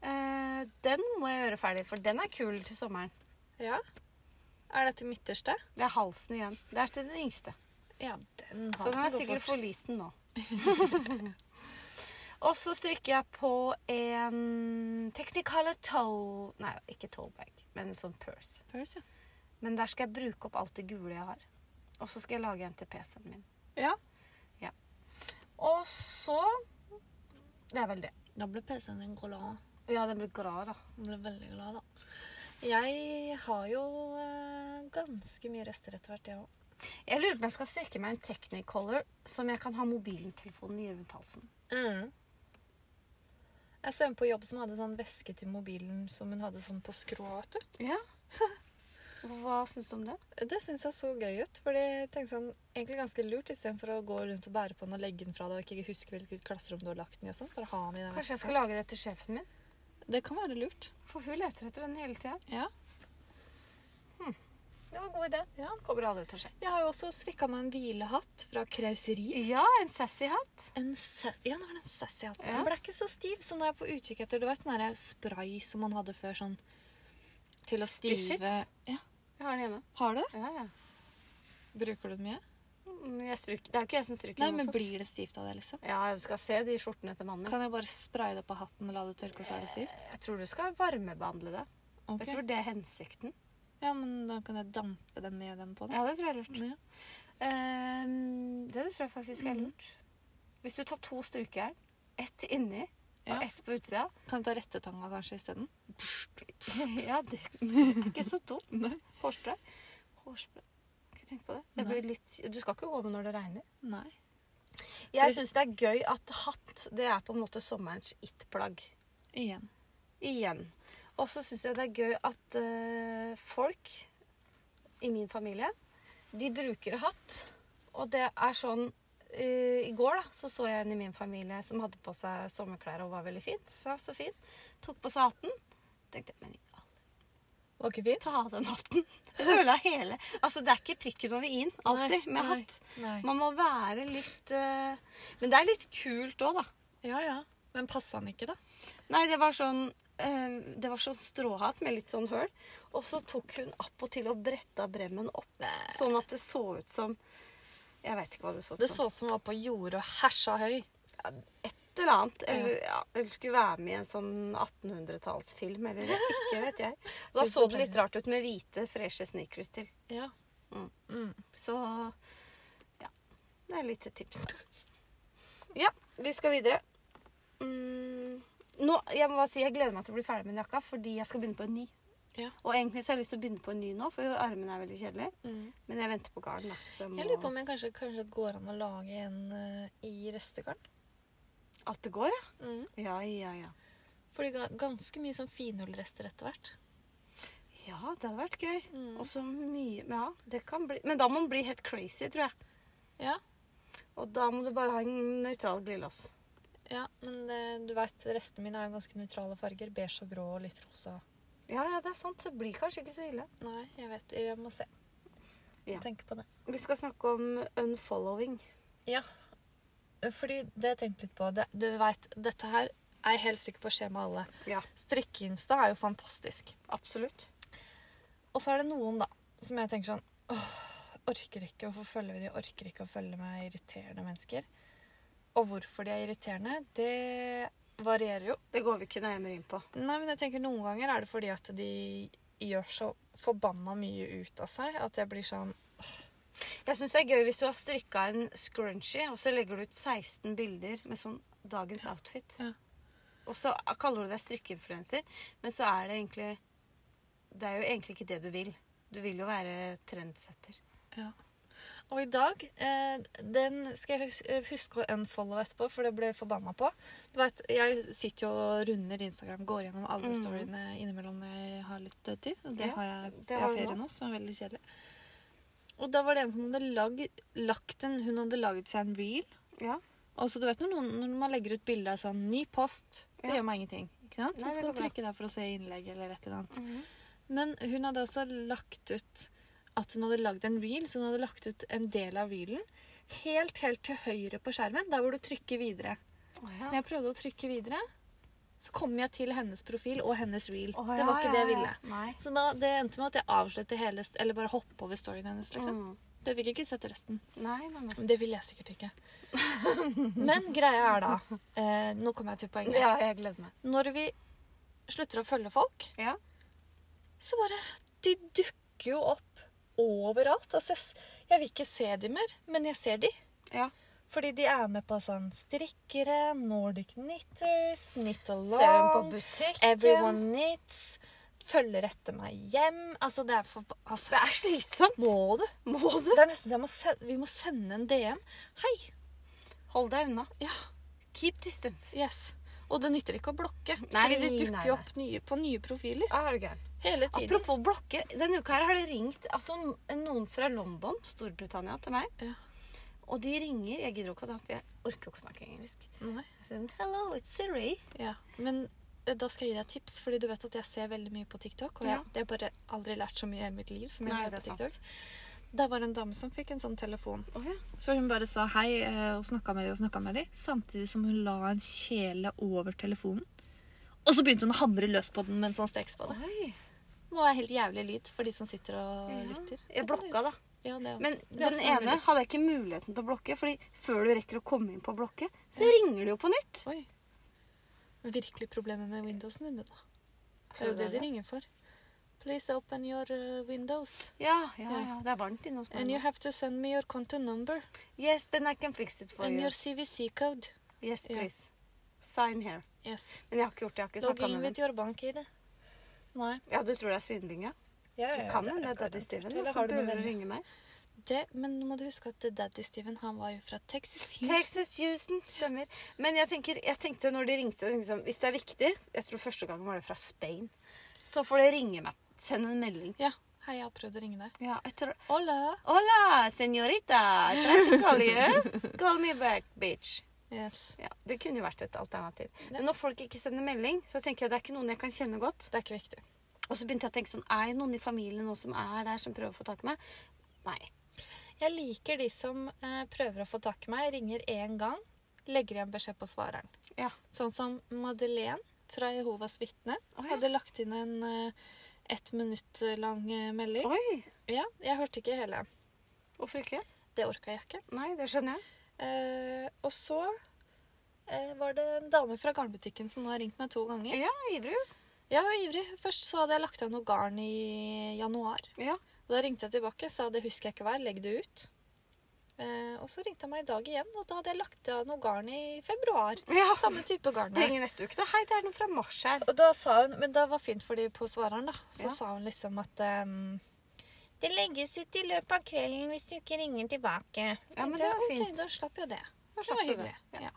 Eh, den må jeg gjøre ferdig, for den er kul til sommeren.
Ja. Er dette midterste?
Det er halsen igjen. Det er til den yngste.
Ja, den
Så den er sikkert for liten nå. og så strikker jeg på en Technicolor toe Nei, ikke toe bag, men en sånn purse.
Purse, ja.
Men der skal jeg bruke opp alt det gule jeg har. Og så skal jeg lage en til PC-en min.
Ja.
Og så Det er vel det.
Da ble PC-en din glad.
Ja, den blir glad, da.
Den ble veldig glad, da.
Jeg har jo eh, ganske mye rester etter hvert, jeg òg.
Jeg lurer på om jeg skal strikke meg en Technicolor som jeg kan ha mobiltelefonen i rundt halsen.
Jeg så en på jobb som hadde sånn veske til mobilen som hun hadde sånn på skrå. vet du.
Ja. Hva syns du om det?
Det syns jeg så gøy ut. For jeg tenkte sånn, egentlig ganske lurt istedenfor å gå rundt og bære på den og legge den fra deg og ikke huske hvilket klasserom du har lagt den i. og sånn, bare ha den i den
Kanskje jeg
veska.
skal lage det til sjefen min?
Det kan være lurt.
For hun leter etter den hele tida.
Ja.
Det var en god idé.
Ja.
Kommer aldri til å skje.
Jeg har jo også strikka meg en hvilehatt fra krauseri.
Ja, en sassy hatt.
En sa- ja, det var den sassy hatten.
Ja.
Den ble ikke så stiv, så nå er jeg på utkikk etter du vet, sånn her spray som man hadde før. sånn Til å
Stiff it?
stive ja.
Jeg har den hjemme.
Har du?
Ja, ja.
Bruker du den mye?
Mm, Jeg stryker. Det er jo ikke jeg som stryker.
Nei,
den
men
hos oss.
Blir det stivt av det? liksom?
Ja, du skal se de skjortene til mannen min.
Kan jeg bare spraye det på hatten og la det tørke, og så er det stivt?
Jeg tror du skal varmebehandle det.
Ok.
Jeg tror det er hensikten.
Ja, men da kan jeg dampe den med den på. da.
Ja, det tror jeg er lurt.
Ja. Mhm.
Ehm, det tror jeg faktisk er lurt. Hvis du tar to strykejern, ett inni
Ja.
og ett på utsida
Kan jeg ta rettetanga kanskje isteden?
Ja, det er ikke så dumt. Hårspray. Hårspray. Ikke tenk på det. det
Nei.
blir litt, du skal ikke gå med når det regner.
Nei.
Jeg syns det er gøy at hatt det er på en måte sommerens it-plagg.
Igjen.
Igjen. Og så syns jeg det er gøy at eh, folk i min familie, de bruker hatt. Og det er sånn eh, I går da, så så jeg en i min familie som hadde på seg sommerklær og var veldig fin. Så, så fin. Tok på seg hatten. Tenkte, men i all
Var ikke fint?
ta av den hatten. Øla hele. Altså, det er ikke prikken over i-en alltid
Nei,
med
nei.
hatt.
Nei.
Man må være litt eh, Men det er litt kult òg, da.
Ja, ja. Men passa den ikke, da?
Nei, det var sånn eh, det var sånn stråhatt med litt sånn høl. Og så tok hun attpåtil og bretta bremmen opp, sånn at det så ut som Jeg veit ikke hva det så ut
Det
som.
så ut som den var på jordet og hersa høy.
Et eller annet. Eller, ja. eller skulle være med i en sånn 1800-tallsfilm, eller ikke, vet jeg. Da så det litt rart ut med hvite, freshe sneakers til.
Ja.
Mm.
Mm.
Så ja. Det er litt et tips. Ja, vi skal videre. Mm, nå, jeg må bare si, jeg gleder meg til å bli ferdig med den jakka, fordi jeg skal begynne på en ny.
Ja.
Og egentlig så har jeg lyst til å begynne på en ny nå, for armene er veldig kjedelig.
Mm.
Men jeg venter på garden. da, Så jeg må,
Jeg lurer på om jeg kanskje, kanskje det går an å lage en eh, i restegarn.
At det går, ja.
Mm.
Ja, ja, ja.
For det ga ganske mye sånn finhullrester etter hvert.
Ja, det hadde vært gøy.
Mm.
Og så mye men Ja, det kan bli Men da må man bli helt crazy, tror jeg.
Ja.
Og da må du bare ha en nøytral glidelås.
Ja, men det, du vet, restene mine er jo ganske nøytrale farger. Beige og grå og litt rosa.
Ja, ja, det er sant. Det blir kanskje ikke så ille.
Nei, jeg vet. Jeg må se.
Ja.
Tenke på det.
Vi skal snakke om unfollowing.
Ja, fordi det jeg tenkte litt på det, Du vet, dette her er jeg helt sikker på skjer med alle.
Ja,
Strikkeinsta er jo fantastisk.
absolutt.
Og så er det noen, da, som jeg tenker sånn Åh, orker ikke å forfølge de, orker ikke å følge med irriterende mennesker. Og hvorfor de er irriterende, det varierer jo.
Det går vi ikke nærmere inn på.
Nei, men jeg tenker Noen ganger er det fordi at de gjør så forbanna mye ut av seg at jeg blir sånn
Jeg syns det er gøy hvis du har strikka en scrunchie, og så legger du ut 16 bilder med sånn dagens outfit.
Ja.
Og så kaller du deg strikkeinfluenser, men så er det egentlig Det er jo egentlig ikke det du vil. Du vil jo være trendsetter.
Og i dag, eh, den skal jeg hus- eh, huske å unfollow etterpå, for det ble jeg forbanna på. Du vet, jeg sitter jo og runder Instagram, går gjennom alle
Mhm.
storyene innimellom når jeg har litt dødtid. Og det
Ja,
har jeg,
det
jeg
har
har
du
ferie nå, som er veldig kjedelig. Og da var det en som hadde lag, lagt en Hun hadde laget seg en reel.
Ja.
Og så du vet når, noen, når man legger ut bilde av sånn 'ny post', det
Ja.
gjør meg ingenting. Ikke sant?
Nei,
så
det
skal
går
du
bra.
trykke der for å se innlegg eller et eller annet.
Mhm.
Men hun hadde også lagt ut at hun hadde lagd en reel, så hun hadde lagt ut en del av reelen helt, helt til høyre på skjermen, der hvor du trykker videre.
Å,
Så
ja.
når jeg prøvde å trykke videre, så kom jeg til hennes profil og hennes reel.
Å,
det
ja,
var ikke
ja,
det jeg
ja.
ville.
Nei.
Så da, det endte med at jeg avsluttet hele, st- eller bare hoppet over storyen hennes, liksom.
Mm.
Det fikk jeg ikke sett resten.
Nei, nei, nei.
Det vil jeg sikkert ikke. Men greia er da, eh, nå kommer jeg til poenget.
Ja, jeg gleder meg.
Når vi slutter å følge folk,
Ja.
så bare De dukker jo opp overalt. Altså, jeg s- Jeg vil ikke se de mer, men jeg ser de.
Ja.
Fordi de er med på sånn strikkere, Nordic Knitters, Knit Along.
Ser dem på butikken.
Everyone knits. Følger etter meg hjem. Altså, det er for altså,
Det er slitsomt.
Må du?
Må du?
Det er nesten så jeg må se- vi må sende en DM. Hei.
Hold deg unna.
Ja.
Keep distance.
Yes. Og det nytter ikke å blokke.
Nei,
fordi det
nei,
dukker
nei.
jo opp nye, på nye profiler
Ja, er du gæren.
hele tiden.
Apropos blokke. Denne uka her har det ringt altså, noen fra London, Storbritannia, til meg.
Ja.
Og de ringer Jeg gidder jo ikke å ta for jeg orker jo ikke å snakke engelsk.
Nei.
Jeg sier sånn Hello, it's Siri.
Ja. Men eh, da skal jeg gi deg et tips, fordi du vet at jeg ser veldig mye på TikTok. Og jeg,
Ja.
jeg har bare aldri lært så mye i hele mitt liv som jeg
Nei,
gjør
det
på
er
TikTok. Det var en dame som fikk en sånn telefon.
Å ja.
Så hun bare sa hei eh, og snakka med dem og snakka med dem, samtidig som hun la en kjele over telefonen. Og så begynte hun å hamre løs på den mens han stekes på det.
Oi.
Nå er helt jævlig lyd for de som sitter og lytter.
Jeg blokka, da.
Ja, det er-
Men
det er
den
også
ene
mulig.
hadde jeg ikke muligheten til å blokke, fordi før du rekker å komme inn på å blokke, så ringer du jo på nytt.
Oi. Virkelig problemer med Windowsen din, du, da. Det er jo det de ringer for. Please open your uh, windows.
Ja, ja, ja. Det er varmt inne hos
And you
meg. nå.
have to send me your conto number
Yes, then I can fix it for
and
you.
your CVC code.
Yes,
Ja.
please. Sign here.
Yes.
Men jeg har ikke gjort det. Jeg har ikke
Logg
snakka
inn
med
with
dem.
your bank ID. Nei.
Ja, du tror det er svindling, ja? Det kan hende det er Daddy Steven da,
Eller
som
har du noen
prøver å
venner?
ringe meg.
Det, men nå må du huske at Daddy Steven han var jo fra Texas.
Texas Houston, stemmer. Men jeg, tenker, jeg tenkte når de ringte jeg tenkte sånn, Hvis det er viktig Jeg tror første gangen var det fra Spain. Så får de ringe meg. Send en melding.
Ja. Hei, jeg har prøvd å ringe deg.
Ja, jeg tror
Hola!
Hola, señorita. Try to call you. Call me back, bitch.
Yes.
Ja, det kunne jo vært et alternativ.
Ja.
Men når folk ikke sender melding, så tenker jeg det er ikke noen jeg kan kjenne godt.
Det er ikke viktig.
Og så begynte jeg å tenke sånn Er det noen i familien nå som er der, som prøver å få tak i meg? Nei.
Jeg liker de som eh, prøver å få tak i meg, ringer én gang, legger igjen beskjed på svareren.
Ja.
Sånn som Madeleine fra Jehovas vitne
Å, ja.
hadde lagt inn en eh, ett minutt lang eh, melding.
Oi.
Ja, jeg hørte ikke hele.
Hvorfor ikke?
Det orka jeg ikke.
Nei, det skjønner jeg.
Eh, og så eh, var det en dame fra garnbutikken som nå har ringt meg to ganger.
Ja, ivrig.
Jeg var ivrig. Først så hadde jeg lagt av noe garn i januar.
Ja.
Og da ringte jeg tilbake, sa det husker jeg ikke hva er, legg det ut. Eh, og så ringte jeg meg i dag igjen, og da hadde jeg lagt av noe garn i februar.
ja.
Samme type garn. her.
Ringer neste uke, da. Hei, det er noe fra mars her.
Og da sa hun, men det var fint for de på svareren da, så
Ja.
sa hun liksom at ehm, det legges ut i løpet av kvelden hvis du ikke ringer tilbake. Så
Ja, men
tenkte
det
jeg,
var
ok,
fint.
da slapp jeg det.
Da
Det
slapp
var
du
hyggelig.
det.
Ja.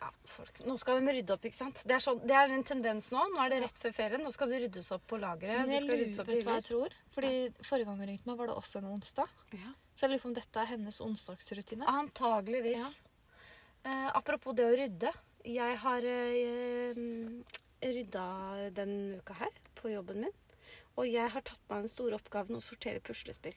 Ja, folk. Nå skal de rydde opp, ikke sant? Det er, sånn, det er en tendens nå. Nå er det rett før ferien. Nå skal det ryddes opp på lageret.
Men
det
jeg
skal
lurer
ryddes opp
på
i
hva
hyller.
jeg tror, fordi forrige gang hun ringte meg var det også en onsdag.
Ja.
Så jeg lurer på om dette er hennes
Ah.
onsdagsrutine.
Antageligvis.
Ja.
Eh, apropos det å rydde. Jeg har eh, rydda denne uka her på jobben min. Og jeg har tatt meg den store oppgaven å sortere puslespill.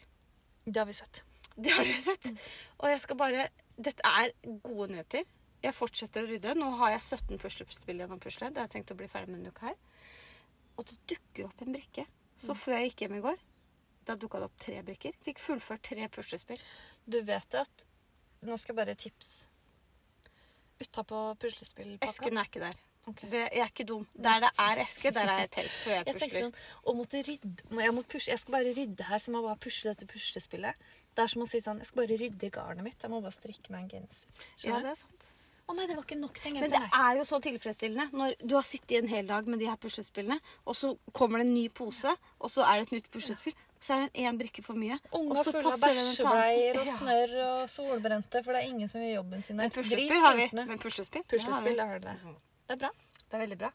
Det har vi sett.
Det har du sett. Og jeg skal bare Dette er gode nyheter. Jeg fortsetter å rydde. Nå har jeg 17 puslespill igjen å pusle. Det har jeg tenkt å bli ferdig med denne uka her. Og det dukker opp en brikke. Så
Mm.
før jeg gikk hjem i går, da dukka det opp tre brikker. Fikk fullført tre puslespill.
Du vet at, nå skal jeg bare tips. Utenpå puslespillpakka.
Esken er ikke der.
Ok.
Det, jeg er ikke dum. Der det er eske, der er jeg telt før jeg
Jeg tenker
pusler.
sånn, å måtte rydde må- jeg, må pushe, jeg skal bare rydde her, så jeg må bare pusle dette puslespillet. Det er som å si sånn, jeg skal bare rydde garnet mitt. Jeg må bare strikke meg en genser.
Ja,
Skjønner du?
det er sant.
Å nei, det var ikke nok til en
Men det
genser. nei.
er jo så tilfredsstillende når du har sittet i en hel dag med de her puslespillene, og så kommer det en ny pose, og så er det et nytt puslespill. Så er det én brikke for mye.
Unga
og så
er fulle av
passer den
bæsjebleier
tansen.
og
Ja.
snørr og solbrente, for det er ingen som gjør jobben sin
Men
her.
puslespill har vi.
Dritsultne.
Men puslespill, det har vi.
Puslespill er det. Det er bra.
Det er veldig bra.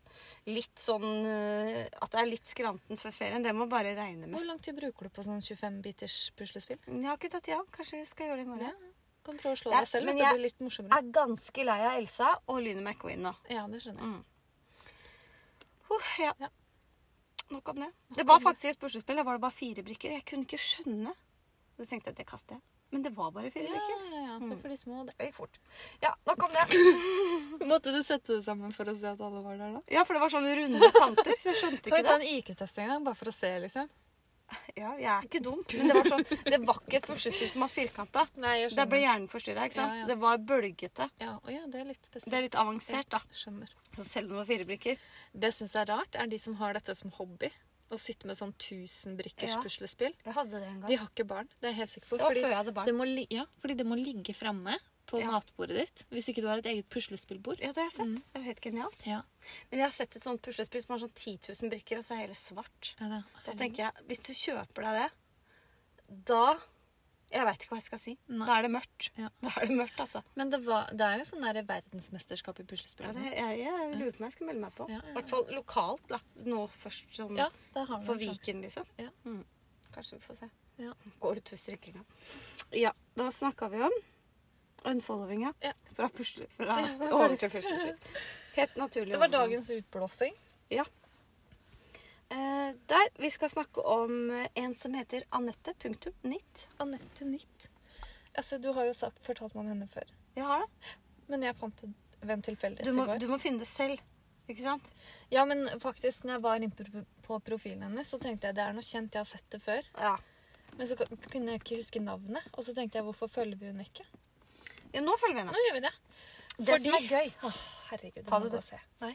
Litt sånn eh, at det er litt skranten før ferien, det må bare regne med.
Hvor lang tid bruker du på sånn 25-biters puslespill?
Jeg har ikke tatt ja. Kanskje vi skal gjøre det i morgen.
Ja. Kan prøve å slå
Det er-
deg selv,
men
vet du, det
jeg-
blir litt morsommere.
Jeg er ganske lei av Elsa og Lyne McQueen nå.
Ja, det skjønner jeg.
Huh, ja.
Ja.
Nok om det. Det var
om det.
faktisk et puslespill. Det var det bare fire brikker. Jeg kunne ikke skjønne. Så tenkte jeg at det kaster jeg. Men det var bare fire
Ja,
brikker.
ja, ja. Det er for de små, det.
Det gikk fort. Ja, nok om det.
Måtte du sette det sammen for å se at alle var der da?
Ja, for det var sånne runde kanter, så jeg skjønte
Kan
ikke
vi ta
det.
en IQ-test en gang, bare for å se, liksom?
Ja, jeg er ikke dum, men det var sånn Det var ikke et puslespill som var firkanta.
Nei, jeg
Der ble hjernen forstyrra, ikke sant?
Ja, ja.
Det var bølgete.
Ja, og ja, det er litt spesielt.
Det er litt avansert, da.
Skjønner.
Så selv om det var fire brikker.
Det syns jeg er rart, er de som har dette som hobby. Å sitte med sånn 1000 brikkers
Ja.
puslespill.
Jeg hadde det en gang.
De har ikke barn, det er jeg helt sikker på.
det var
Fordi
før jeg hadde barn.
Det må, li- ja, fordi det må ligge framme på
Ja.
matbordet ditt hvis ikke du har et eget puslespillbord.
Ja, det har jeg sett. Det er jo helt genialt.
Ja,
Mm. Men jeg har sett et sånt puslespill som har sånn 10 000 brikker, og så er hele svart.
ja, det.
Da tenker jeg, hvis du kjøper deg det, da Jeg veit ikke hva jeg skal si.
Nei.
Da er det mørkt.
Ja.
Da er det mørkt, altså.
Men det, var, det er jo sånn der verdensmesterskap i
Ja,
puslespill.
det, Altså, jeg, jeg lurer på om jeg skal melde meg på. I
Ja, ja, ja.
hvert fall lokalt. Da. Nå først som
Ja, der har vi
på
en sjanse.
Viken, liksom.
Ja.
Mm. Kanskje vi får se.
Ja.
Gå utover strikkinga. Ja, da snakka vi om unfollowinga.
Ja.
Fra, pusle, fra over til puslespill. Helt naturlig.
Det var
overgang.
dagens utblåsing.
Eh, der. Vi skal snakke om eh, en som heter Anette. Punktum. Nitt.
Anette Nitt. Altså, du har jo sagt, fortalt meg om henne før.
Jeg har det.
Men jeg fant det ved en tilfeldighet
Du må,
i går.
du må finne det selv. Ikke sant?
Ja, men faktisk, når jeg var inne på- på profilen hennes, så tenkte jeg det er noe kjent, jeg har sett det før.
Ja.
Men så kan- kunne jeg ikke huske navnet. Og så tenkte jeg, hvorfor følger vi henne ikke?
ja nå følger vi
Nå
henne.
gjør vi det.
Det som er gøy
Åh, herregud, det
Ta
må du
det, du.
gå og se. Nei.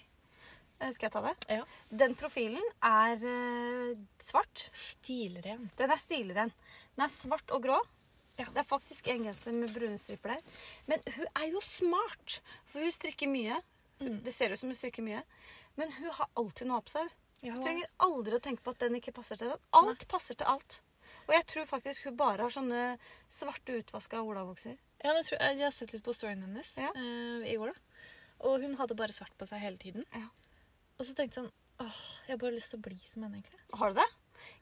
Eh, Skal jeg ta det?
Ja.
Den profilen er eh, svart.
Stilren.
Den er stilren. Den er svart og grå.
Ja.
Det er faktisk en genser med brune striper der. Men hun er jo smart, for hun strikker mye.
Mm.
Det ser ut som hun strikker mye. Men hun har alltid noe oppsau.
Ja.
Hun trenger aldri å tenke på at den ikke passer til den. Alt passer til alt. Og jeg tror faktisk hun bare har sånne svarte utvaska olavokser.
Ja, det tror jeg, jeg har sett litt på storyen hennes
Ja.
eh, i går. da. Og hun hadde bare svart på seg hele tiden.
Ja.
Og så tenkte jeg sånn Åh, jeg har bare lyst til å bli som henne, egentlig.
Har du det?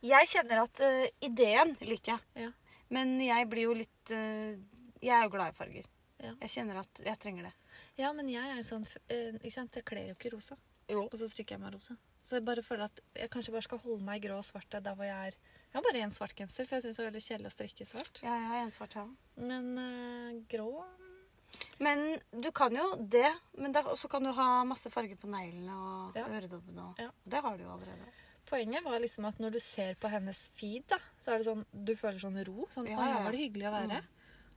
Jeg kjenner at eh, ideen liker jeg.
Ja.
Men jeg blir jo litt eh, Jeg er jo glad i farger.
Ja.
Jeg kjenner at jeg trenger det.
Ja, men jeg er jo sånn f- eh, ikke sant? Jeg kler jo ikke rosa.
Jo.
Og så strikker jeg meg rosa. Så jeg bare føler at jeg kanskje bare skal holde meg i grå og svart der hvor jeg er. Jeg har bare én svart genser, for jeg syns det er veldig kjedelig å strikke svart.
Ja, jeg har en svart her.
Men eh, grå
Men du kan jo det, men da- og så kan du ha masse farger på neglene og
Ja.
øredobbene. Og,
Ja.
Det har du jo allerede.
Poenget var liksom at når du ser på hennes feed, da, så er det sånn Du føler sånn ro. Sånn
Ja,
Å,
ja, Mm.
her
ja.
var det hyggelig å være.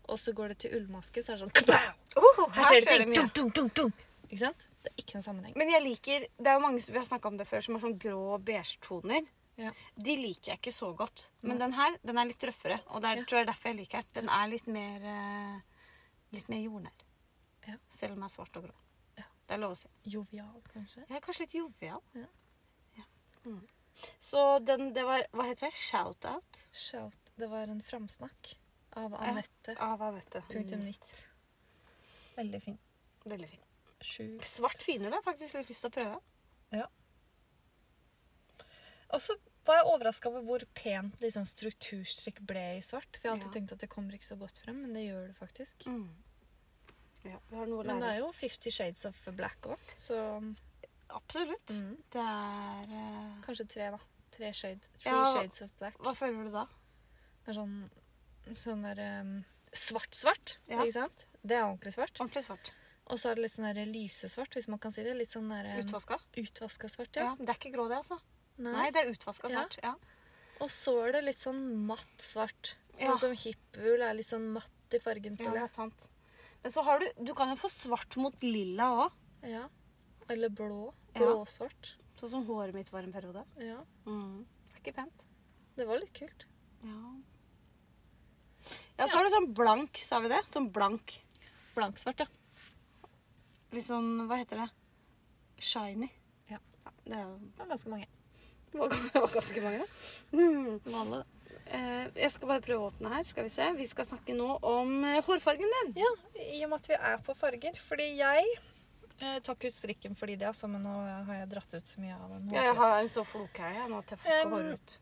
Og så går det til ullmaske, så er det sånn kapow!
her skjer det mye.
Dunk, dunk, dunk, dunk. Ikke sant? Det er ikke noen sammenheng.
Men jeg liker Det er jo mange som vi har snakka om det før, som har sånn grå og beige toner.
Ja.
De liker jeg ikke så godt. Men den her den er litt røffere, og det er,
Ja.
tror jeg er derfor jeg liker den. Den er litt mer, eh, litt mer jordnær.
Ja.
Selv om den er svart og grå.
Ja.
Det er lov å si.
Jovial, kanskje.
Jeg er kanskje litt jovial.
Ja.
Ja. Mm. Så den, det var Hva heter det? Shout-out
Shout. Det var en framsnakk av Anette.
av Anette.
Punktum nitt. Veldig fin.
Mm. Veldig fin.
Sju.
Svart finhull har jeg faktisk litt lyst til å prøve.
Og så var jeg overraska over hvor pent liksom, strukturstrikk ble i svart. For jeg har alltid
Ja.
tenkt at det kommer ikke så godt frem, men det gjør det faktisk.
Ja, vi har noe å
Men det
lære.
Mm. er jo 50 Shades of Black òg, så
Absolutt.
mm,
Det er eh,
kanskje tre, da. Tre shades, three
Ja.
shades of Black.
Hva føler du da?
Det er sånn, sånn der ehm, svart-svart,
Ja.
ikke sant? Det er ordentlig svart.
Ordentlig svart.
Og så er det litt sånn der lysesvart, hvis man kan si det. Litt sånn der ehm,
Utvaska?
utvaska svart,
Ja.
ja.
Det er ikke grå, det, altså.
Nei.
Nei, det er utvaska
Ja.
svart. Ja.
Og så er det litt sånn matt svart.
Ja.
Sånn som hippull er litt sånn matt i fargen,
ja, det
føler
er
jeg.
sant. Men så har du Du kan jo få svart mot lilla òg.
Ja. Eller blå.
Ja.
Blåsvart.
Sånn som håret mitt var en periode.
Ja.
Mm. Det er ikke pent.
Det var litt kult.
Ja. ja, så har du sånn blank, sa vi det? Sånn blank.
Blanksvart, ja.
Litt sånn Hva heter det? Shiny.
Ja.
det er jo
Det var ganske mange.
Det var det var ganske mange, da. Mm.
Vanlig, det.
Eh, jeg skal bare prøve å åpne her. Skal Vi se. Vi skal snakke nå om eh, hårfargen din.
Ja, i og med at vi er på farger. Fordi jeg eh, tar ikke ut strikken fordi det, altså, men nå har jeg dratt ut så mye av den.
Ja, jeg har en så flok her jeg, nå at jeg får ikke
Um,
hår ut.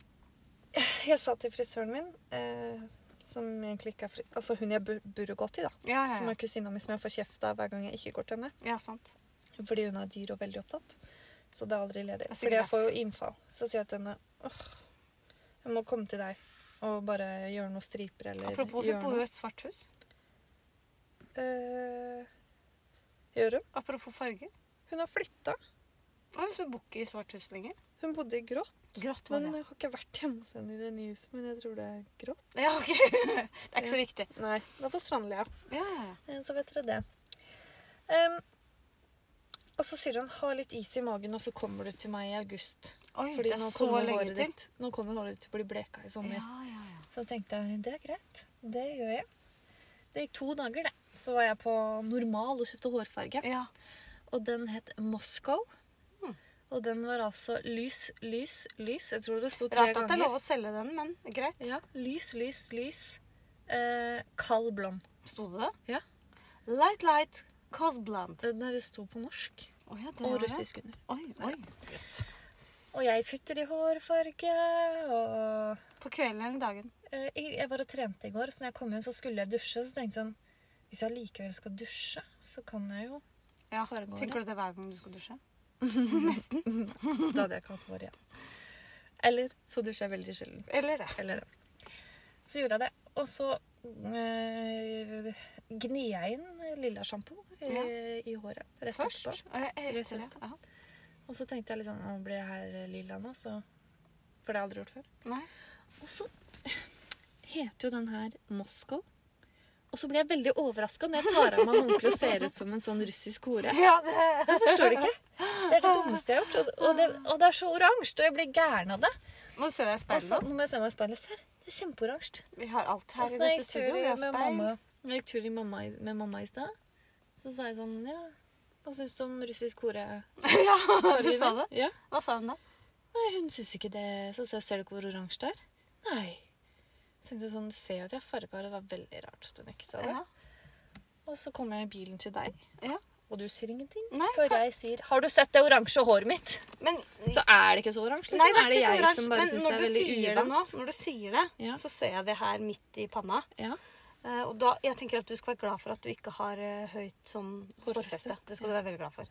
Jeg sa til frisøren min, eh, som egentlig ikke er fri... Altså hun jeg bur- burde gått i, da.
Ja, ja,
Som
ja.
er kusina mi, som jeg får kjeft av hver gang jeg ikke går til henne.
ja, sant.
Fordi hun er dyr og veldig opptatt. Så det er aldri ledig.
er sikkert
Fordi jeg
derfor.
får jo innfall. Så sier jeg til henne åh, jeg må komme til deg og bare gjøre noen striper eller
Apropos, hun
gjøre
bor jo
noe.
i et svart hus.
Eh, gjør hun?
Apropos farger.
Hun har flytta.
Hun bor ikke i svart hus lenger.
Hun bodde i grått.
Grått var
Men
det.
jeg har ikke vært hjemme hos henne i det nye huset, men jeg tror det er grått.
Ja, ok. Det er ikke
Ja.
så viktig.
Nei, det er på Strandlia.
Ja, ja, ja.
Eh, Så vet dere det. Em, Og så sier han 'ha litt is i magen', og så kommer du til meg i august.
Oi,
Fordi
det er
nå
så
kommer,
lenge
håret
til.
ditt, nå kommer håret ditt til å bli bleka i sommer.
Ja, ja, ja.
Så tenkte jeg det er greit, det gjør jeg. Det gikk to dager, det. Så var jeg på normal og kjøpte hårfarge.
Ja.
Og den het Moscow.
Hmm.
Og den var altså lys, lys, lys. Jeg tror det sto tre
Rart at det er
ganger.
lov å selge den, men greit.
Ja, Lys, lys, lys. Eh, kald blond.
Sto det det?
Ja.
Light, light, cold blonde.
Den der det sto på norsk
Å ja, det
og
var det.
russisk under.
Oi, oi. Yes.
Og jeg putter i hårfarge og
På kvelden eller dagen.
Eh, Jeg jeg var og trente i går, så når jeg kom hjem, så skulle jeg dusje. Så tenkte jeg sånn Hvis jeg likevel skal dusje, så kan jeg jo
Ja.
Fargeåret.
Tenker du det hver gang du skal dusje?
Da hadde jeg ikke hatt hår igjen. Eller så dusjer jeg veldig sjelden.
Eller det?
Eller Så gjorde jeg det. Og så øh, gni jeg inn lilla sjampo eh, i håret. Rett etterpå.
Først? Ja, jeg er
Rett
etter det. Ja.
Og så tenkte jeg liksom Nå blir det her eh, lilla nå, så For det har jeg aldri gjort før.
Nei.
Og så heter jo den her Moskov. Og så blir jeg veldig overraska når jeg tar av meg håndkleet og ser ut som en sånn russisk hore.
Ja, det
Jeg forstår det ikke. Det er det dummeste jeg har gjort. Og, og, det, og det er så oransje, og jeg blir gæren av det.
Nå ser jeg
Og så,
speilet.
nå må jeg se meg i speilet. Se her, det er kjempeoransje.
Vi har alt
Og
her
så
i
da jeg
dette
gikk tur
studioet. Vi har
med
speil.
mamma, når jeg gikk tur i mamma, i- med mamma i stad, så sa jeg sånn Ja, hva syns du om russisk hore?
Du sa det?
Ja.
Hva sa hun da?
Nei, hun syns ikke det. Så sa jeg, ser du ikke hvor oransje det er? Nei. Så tenkte jeg sånn, du ser jo at jeg har farga det. var veldig rart at hun ikke sa det.
Ja.
Og så kommer jeg i bilen til deg,
Ja.
og du sier ingenting.
Nei,
Før jeg sier 'Har du sett det oransje håret mitt?'
Men
Så er det ikke så oransje. Liksom.
Nei, det er ikke
jeg
så oransje.
som bare
Men
synes
når
det
du
er veldig
sier det
uvant.
nå, når du sier det,
Ja.
så ser jeg det her midt i panna.
Ja.
Eh, Og da, jeg tenker at du skal være glad for at du ikke har eh, høyt sånn
Hårfeste.
hårfeste. Det skal du være veldig glad for.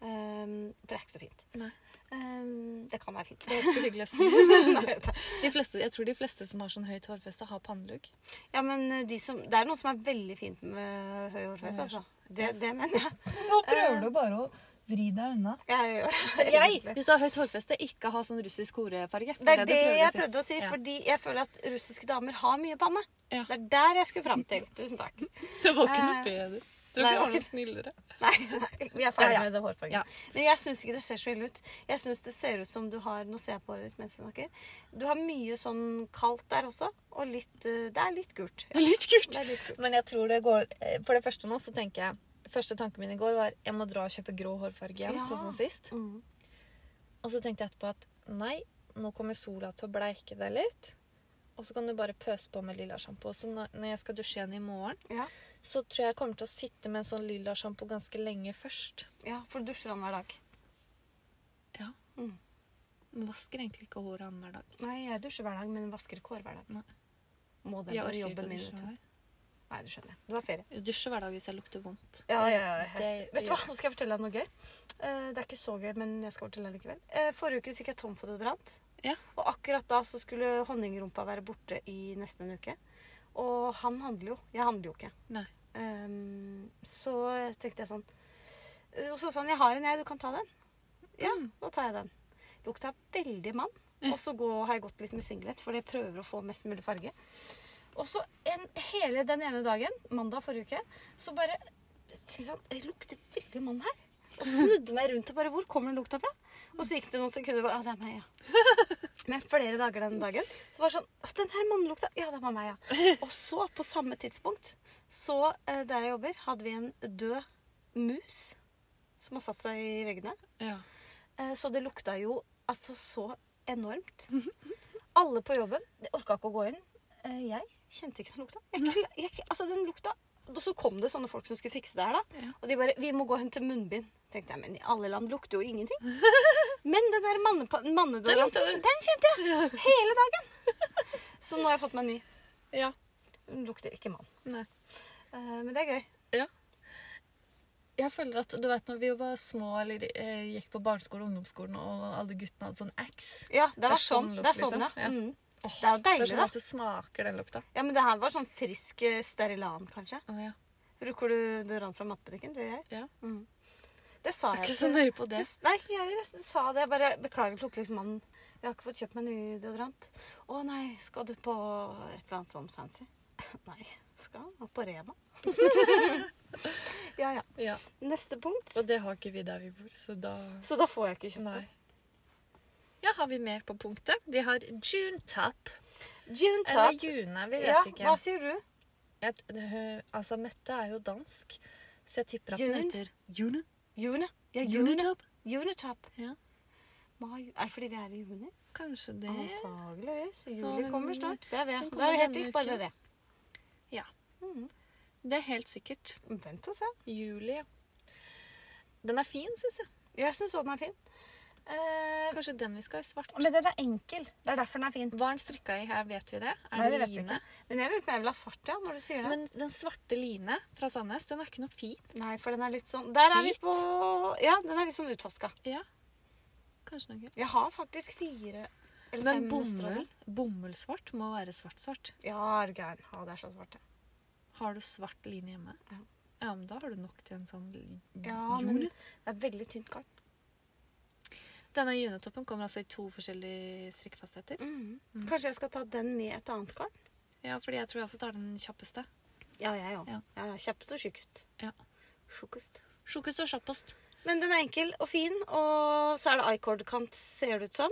Ehm, for det er ikke så fint.
Nei.
Ehm, det kan være fint.
Det er ikke så hyggelig å si.
Nei, vet du.
De fleste, jeg tror de fleste som har sånn høyt hårfeste, har pannelugg.
ja, men eh, de som, det er noen som er veldig fint med høy hårfeste, altså. Det, det mener jeg.
Nå prøver du bare å vri deg unna.
Jeg gjør det.
Jeg,
egentlig.
hvis du har høyt hårfeste, ikke ha sånn russisk horefarge.
Det er
du
det jeg
å si.
prøvde å si,
Ja.
fordi jeg føler at russiske damer har mye panne.
Ja.
Det er der jeg skulle fram til. Tusen takk.
Det var ikke
Eh,
noe bedre. Du
nei, det
ikke
var
var noe snillere.
Nei, nei, vi er
Ja,
ferdig
ja.
med det hårfargen.
Ja.
Men jeg syns ikke det ser så ille ut. Jeg synes det ser ut som du har Nå ser jeg på håret ditt mens jeg snakker. Du har mye sånn kaldt der også, og litt eh, Det er litt gult.
Det er litt kult.
Det er litt gult.
Men jeg tror det går eh, For det første nå så tenker jeg Første tanken min i går var jeg må dra og kjøpe grå hårfarge igjen.
Ja.
sånn som sist.
Mm.
Og så tenkte jeg etterpå at nei, nå kommer sola til å bleike deg litt. Og så kan du bare pøse på med lilla sjampo. Så når når jeg skal dusje igjen i morgen,
Ja.
så tror jeg jeg kommer til å sitte med en sånn lilla sjampo ganske lenge først.
ja, for du dusjer han hver dag.
Ja.
Mm.
Men vasker egentlig ikke håret annenhver dag.
Nei, jeg dusjer hver dag, men vasker ikke hår hver dag.
Nei.
Må det
Jeg
være
orker ikke å
jobben min.
dusje
vet
hver
du.
dag.
Nei, du skjønner. Du har ferie.
Jeg dusjer hver dag hvis jeg lukter vondt.
Ja, ja, ja.
Det-
jeg- Vet du hva, nå skal jeg fortelle deg noe gøy. Eh, Det er ikke så gøy, men jeg skal fortelle deg likevel. Eh, Forrige uke så gikk jeg tom for deodorant.
Ja.
Og akkurat da så skulle honningrumpa være borte i nesten en uke. Og han handler jo. Jeg handler jo ikke.
Nei.
Ehm, så tenkte jeg sånn eh, Og så sa han 'Jeg har en, jeg. Du kan ta den'. Ja, da tar jeg den. Lukta veldig mann. Og så gå, har jeg gått litt med singlet, for jeg prøver å få mest mulig farge. Og så en, hele den ene dagen, mandag forrige uke, så bare tenkte jeg sånn Det lukter veldig mann her. Og snudde meg rundt og bare Hvor kommer den lukta fra? Og så gikk det noen sekunder og bare, Ja, det er meg, ja. Men flere dager den dagen så var det sånn «Å, Den her mannlukta Ja, det var meg, ja. Og så, på samme tidspunkt, så eh, der jeg jobber, hadde vi en død mus som har satt seg i veggene.
Ja.
Eh, Så det lukta jo altså så enormt. Alle på jobben de orka ikke å gå inn. Eh, Jeg kjente ikke den lukta. Jeg, kla- jeg, altså den lukta Og så kom det sånne folk som skulle fikse det her. da
Ja.
Og de bare 'Vi må gå og hente munnbind'. Tenkte jeg, Men i alle land lukter jo ingenting. Men den der mannepa- mannedoranten,
Den lukta-
den kjente jeg hele dagen! Så nå har jeg fått meg en ny.
Ja.
Den lukter ikke mann.
Nei.
Eh, Men det er gøy.
Jeg føler at, du vet når vi var små eller eh, gikk på barneskole og ungdomsskolen, og alle guttene hadde sånn ax.
Ja, det
er
var
sånn
sånn.
lukt,
Det er sånn,
liksom.
ja.
Ja.
Mm. Det er jo
Det er
deilig,
sånn
da.
at du smaker den lukta.
Ja, Men det her var sånn frisk eh, Sterilan, kanskje.
Å, ja.
Bruker du deodorant fra matbutikken? Det gjør jeg.
Ja.
Mm. Det sa
Jeg er
jeg.
ikke så nøye på det.
det, nei, jeg er nesten sa det. Jeg bare beklager det lukter litt mann. Jeg har ikke fått kjøpt meg ny deodorant. Å nei, skal du på et eller annet sånn fancy? Nei, skal han på Rema? Ja, ja.
Ja.
Neste punkt.
Og det har ikke vi der vi bor, så da
Så da får jeg ikke kjøpt
Nei.
det.
Ja, har vi mer på punktet? Vi har junetap.
Gin
Eller
tap.
june, vi vet
Ja,
ikke.
hva sier du?
Jeg, øh, altså, Mette er jo dansk, så jeg tipper at
June.
den heter June.
June. Ja, june.
Junetap.
Junetap.
Ja.
Mai. Er det fordi vi er i juni?
Kanskje det.
Antageligvis.
den-
Juli kommer snart. Det er vi.
den kommer
Da er det helt
denne
likt, bare
uken.
med det. Mm.
Det er helt sikkert.
Vent og se.
Juli, ja. Den er fin, syns jeg.
Jeg syns også den er fin. Eh,
Kanskje den vi skal ha i svart.
men den er enkel. Det er derfor den er fin.
Hva er den strikka i her, vet vi det? Er
Nei,
det,
det vet vi
line?
ikke. Men jeg lurer på om jeg vil ha svart, ja, når du sier det.
Men den svarte line fra Sandnes, den er ikke noe fin.
Nei, for den er litt sånn Der
Hvit?
er litt på Ja, den er litt sånn utvaska.
Ja. Kanskje noe.
Jeg har faktisk fire eller
Men
fem
bomull,
stråler.
bomullsvart må være svart-svart.
Ja, er du gæren. Ja, det er så svart, ja.
Har du svart line hjemme?
Ja.
Ja, men da har du nok til en sånn li-
Ja, men
june.
det er veldig tynt garn.
Denne junetoppen kommer altså i to forskjellige strikkefastheter.
Mm-hmm. Mm. Kanskje jeg skal ta den med et annet garn?
Ja, fordi jeg tror jeg også tar den kjappeste.
Ja, jeg òg.
Ja.
Ja. Ja, kjappest og tjukkest.
Ja.
Tjukkest.
Sjokest og kjappest.
Men den er enkel og fin, og så er det icord-kant, ser det ut som.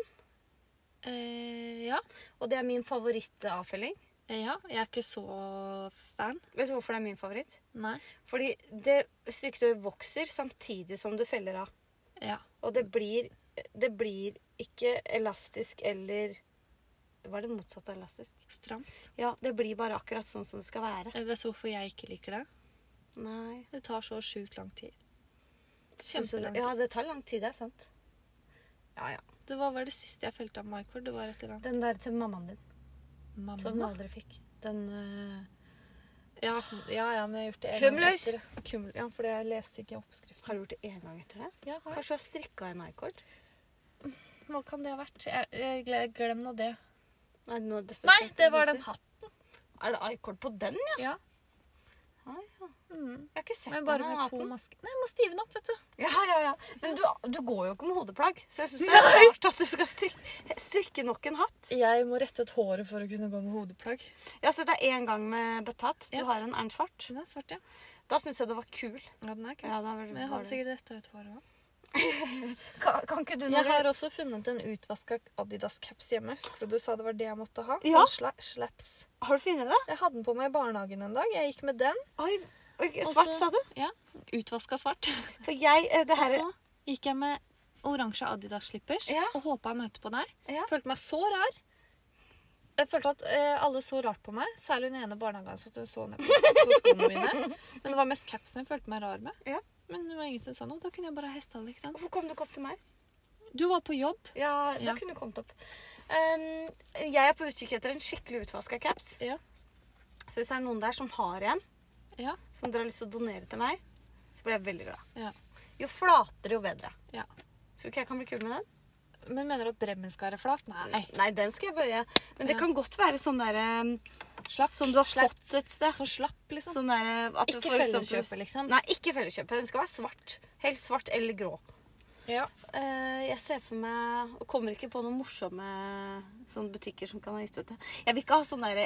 Eh, ja.
Og det er min favorittavfelling.
Eh, ja. Jeg er ikke så fan.
Vet du hvorfor det er min favoritt?
Nei.
Fordi det strikketøyet vokser samtidig som du feller av.
Ja.
Og det blir, det blir ikke elastisk eller Hva er det motsatte av elastisk?
Stramt.
Ja, det blir bare akkurat sånn som det skal være.
Jeg Eh, vet du hvorfor jeg ikke liker det?
Nei.
Det tar så sjukt lang tid.
Synes du det-
Kjempelang tid.
Ja, det tar lang tid, det er sant. Ja, ja.
Det var vel det siste jeg felte av Mycord. Det var et eller annet.
Den der til mammaen din, som du
Mamma.
aldri fikk. Den eh,
Ja, ja, ja, men jeg har gjort det en
Kumløs!
gang etter. Kumløs! Ja, for jeg leste ikke oppskriften.
Har du gjort det én gang etter det?
Ja, har jeg.
Kanskje du har strikka en icord?
Hva kan det ha vært? Jeg, jeg, gle- glem nå det.
Nei, nå, dette skal
Nei,
jeg ikke
det var
si.
den hatten.
Er det icord på den, ja?
Ja.
Ah, ja.
Mm.
Jeg har ikke sett
Men
den.
bare
den
med to
hatten.
masker. Nei, jeg må stive den opp, vet du.
Ja, ja, ja. Men du, du går jo ikke med hodeplagg, så jeg syns det er rart at du skal strikke, strikke nok en hatt.
Jeg må rette ut håret for å kunne gå med hodeplagg.
Jeg har sett deg én gang med bøttehatt. Du
Ja.
har en Ern svart.
Den Sånn er svart, ja.
Da syns jeg det var kul.
Ja, den er kul.
Ja, da var,
Men jeg
var
hadde
det.
sikkert retta ut håret òg.
Kan, kan ikke du
Jeg
når
har
du
også funnet en utvaska Adidas-caps hjemme. Husker du du sa det var det jeg måtte ha?
Ja.
Sånn sla- slaps.
Har du funnet det?
Jeg hadde den på meg i barnehagen en dag. Jeg gikk med den.
Oi, oi,
Og
svart,
så-
sa du?
Ja. Utvaska svart.
For jeg eh, Det
Og
her
så gikk jeg med oransje Adidas-slippers
Ja.
og håpa å møte på deg.
Ja.
Følte meg så rar. Jeg følte at eh, alle så rart på meg, særlig den ene barnehagen så at hun så ned på, på skoene mine. Men det var mest capsen jeg følte meg rar med.
Ja.
Men det var ingen som sa noe. Da kunne jeg bare ha hestehale, ikke sant.
Hvorfor kom du ikke opp til meg?
Du var på jobb.
Ja, da
Ja.
kunne du kommet opp. Ehm, jeg er på utkikk etter en skikkelig utvaska caps.
Ja.
Så hvis det er noen der som har en,
Ja.
som dere har lyst til å donere til meg, så blir jeg veldig glad.
Ja.
Jo flatere, jo bedre.
Ja.
Tror du ikke jeg kan bli kul med den?
Men mener du at bremmen skal være flat? Nei.
Nei, den skal jeg bøye. Men det
Ja.
kan godt være sånn der ehm,
Slapp.
Som du har
slapp.
fått et sted.
Så slapp, liksom.
Sånn der, eh, at
Ikke
for eksempel-
felleskjøpet, liksom.
Nei, ikke felleskjøpet. Den skal være svart. Helt svart eller grå.
Ja.
Eh, jeg ser for meg Og kommer ikke på noen morsomme sånne butikker som kan ha gitt ut det. Jeg vil ikke ha sånn der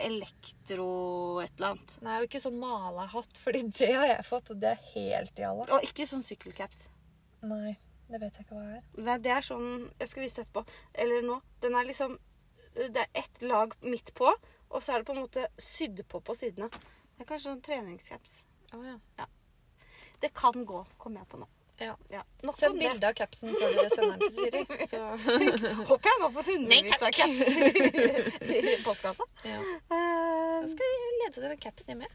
elektro et eller annet.
Nei, og ikke sånn malahatt, fordi det har jeg fått, og det er helt jalla.
Og ikke sånn sykkelcaps.
Nei, det vet jeg ikke hva det er.
Nei, det er sånn Jeg skal vise det etterpå. Eller nå. Den er liksom Det er ett lag midt på, og så er det på en måte sydd på på sidene. Det er kanskje sånn treningscaps.
Å, ja.
Det kan gå, kom jeg på nå.
Ja.
Ja, nok
Send
om det.
bilde av capsen før dere sender den til Siri. Så.
Håper jeg nå får hundrevis av caps i i postkassa. Eh,
Jeg skal lete etter den capsen hjemme.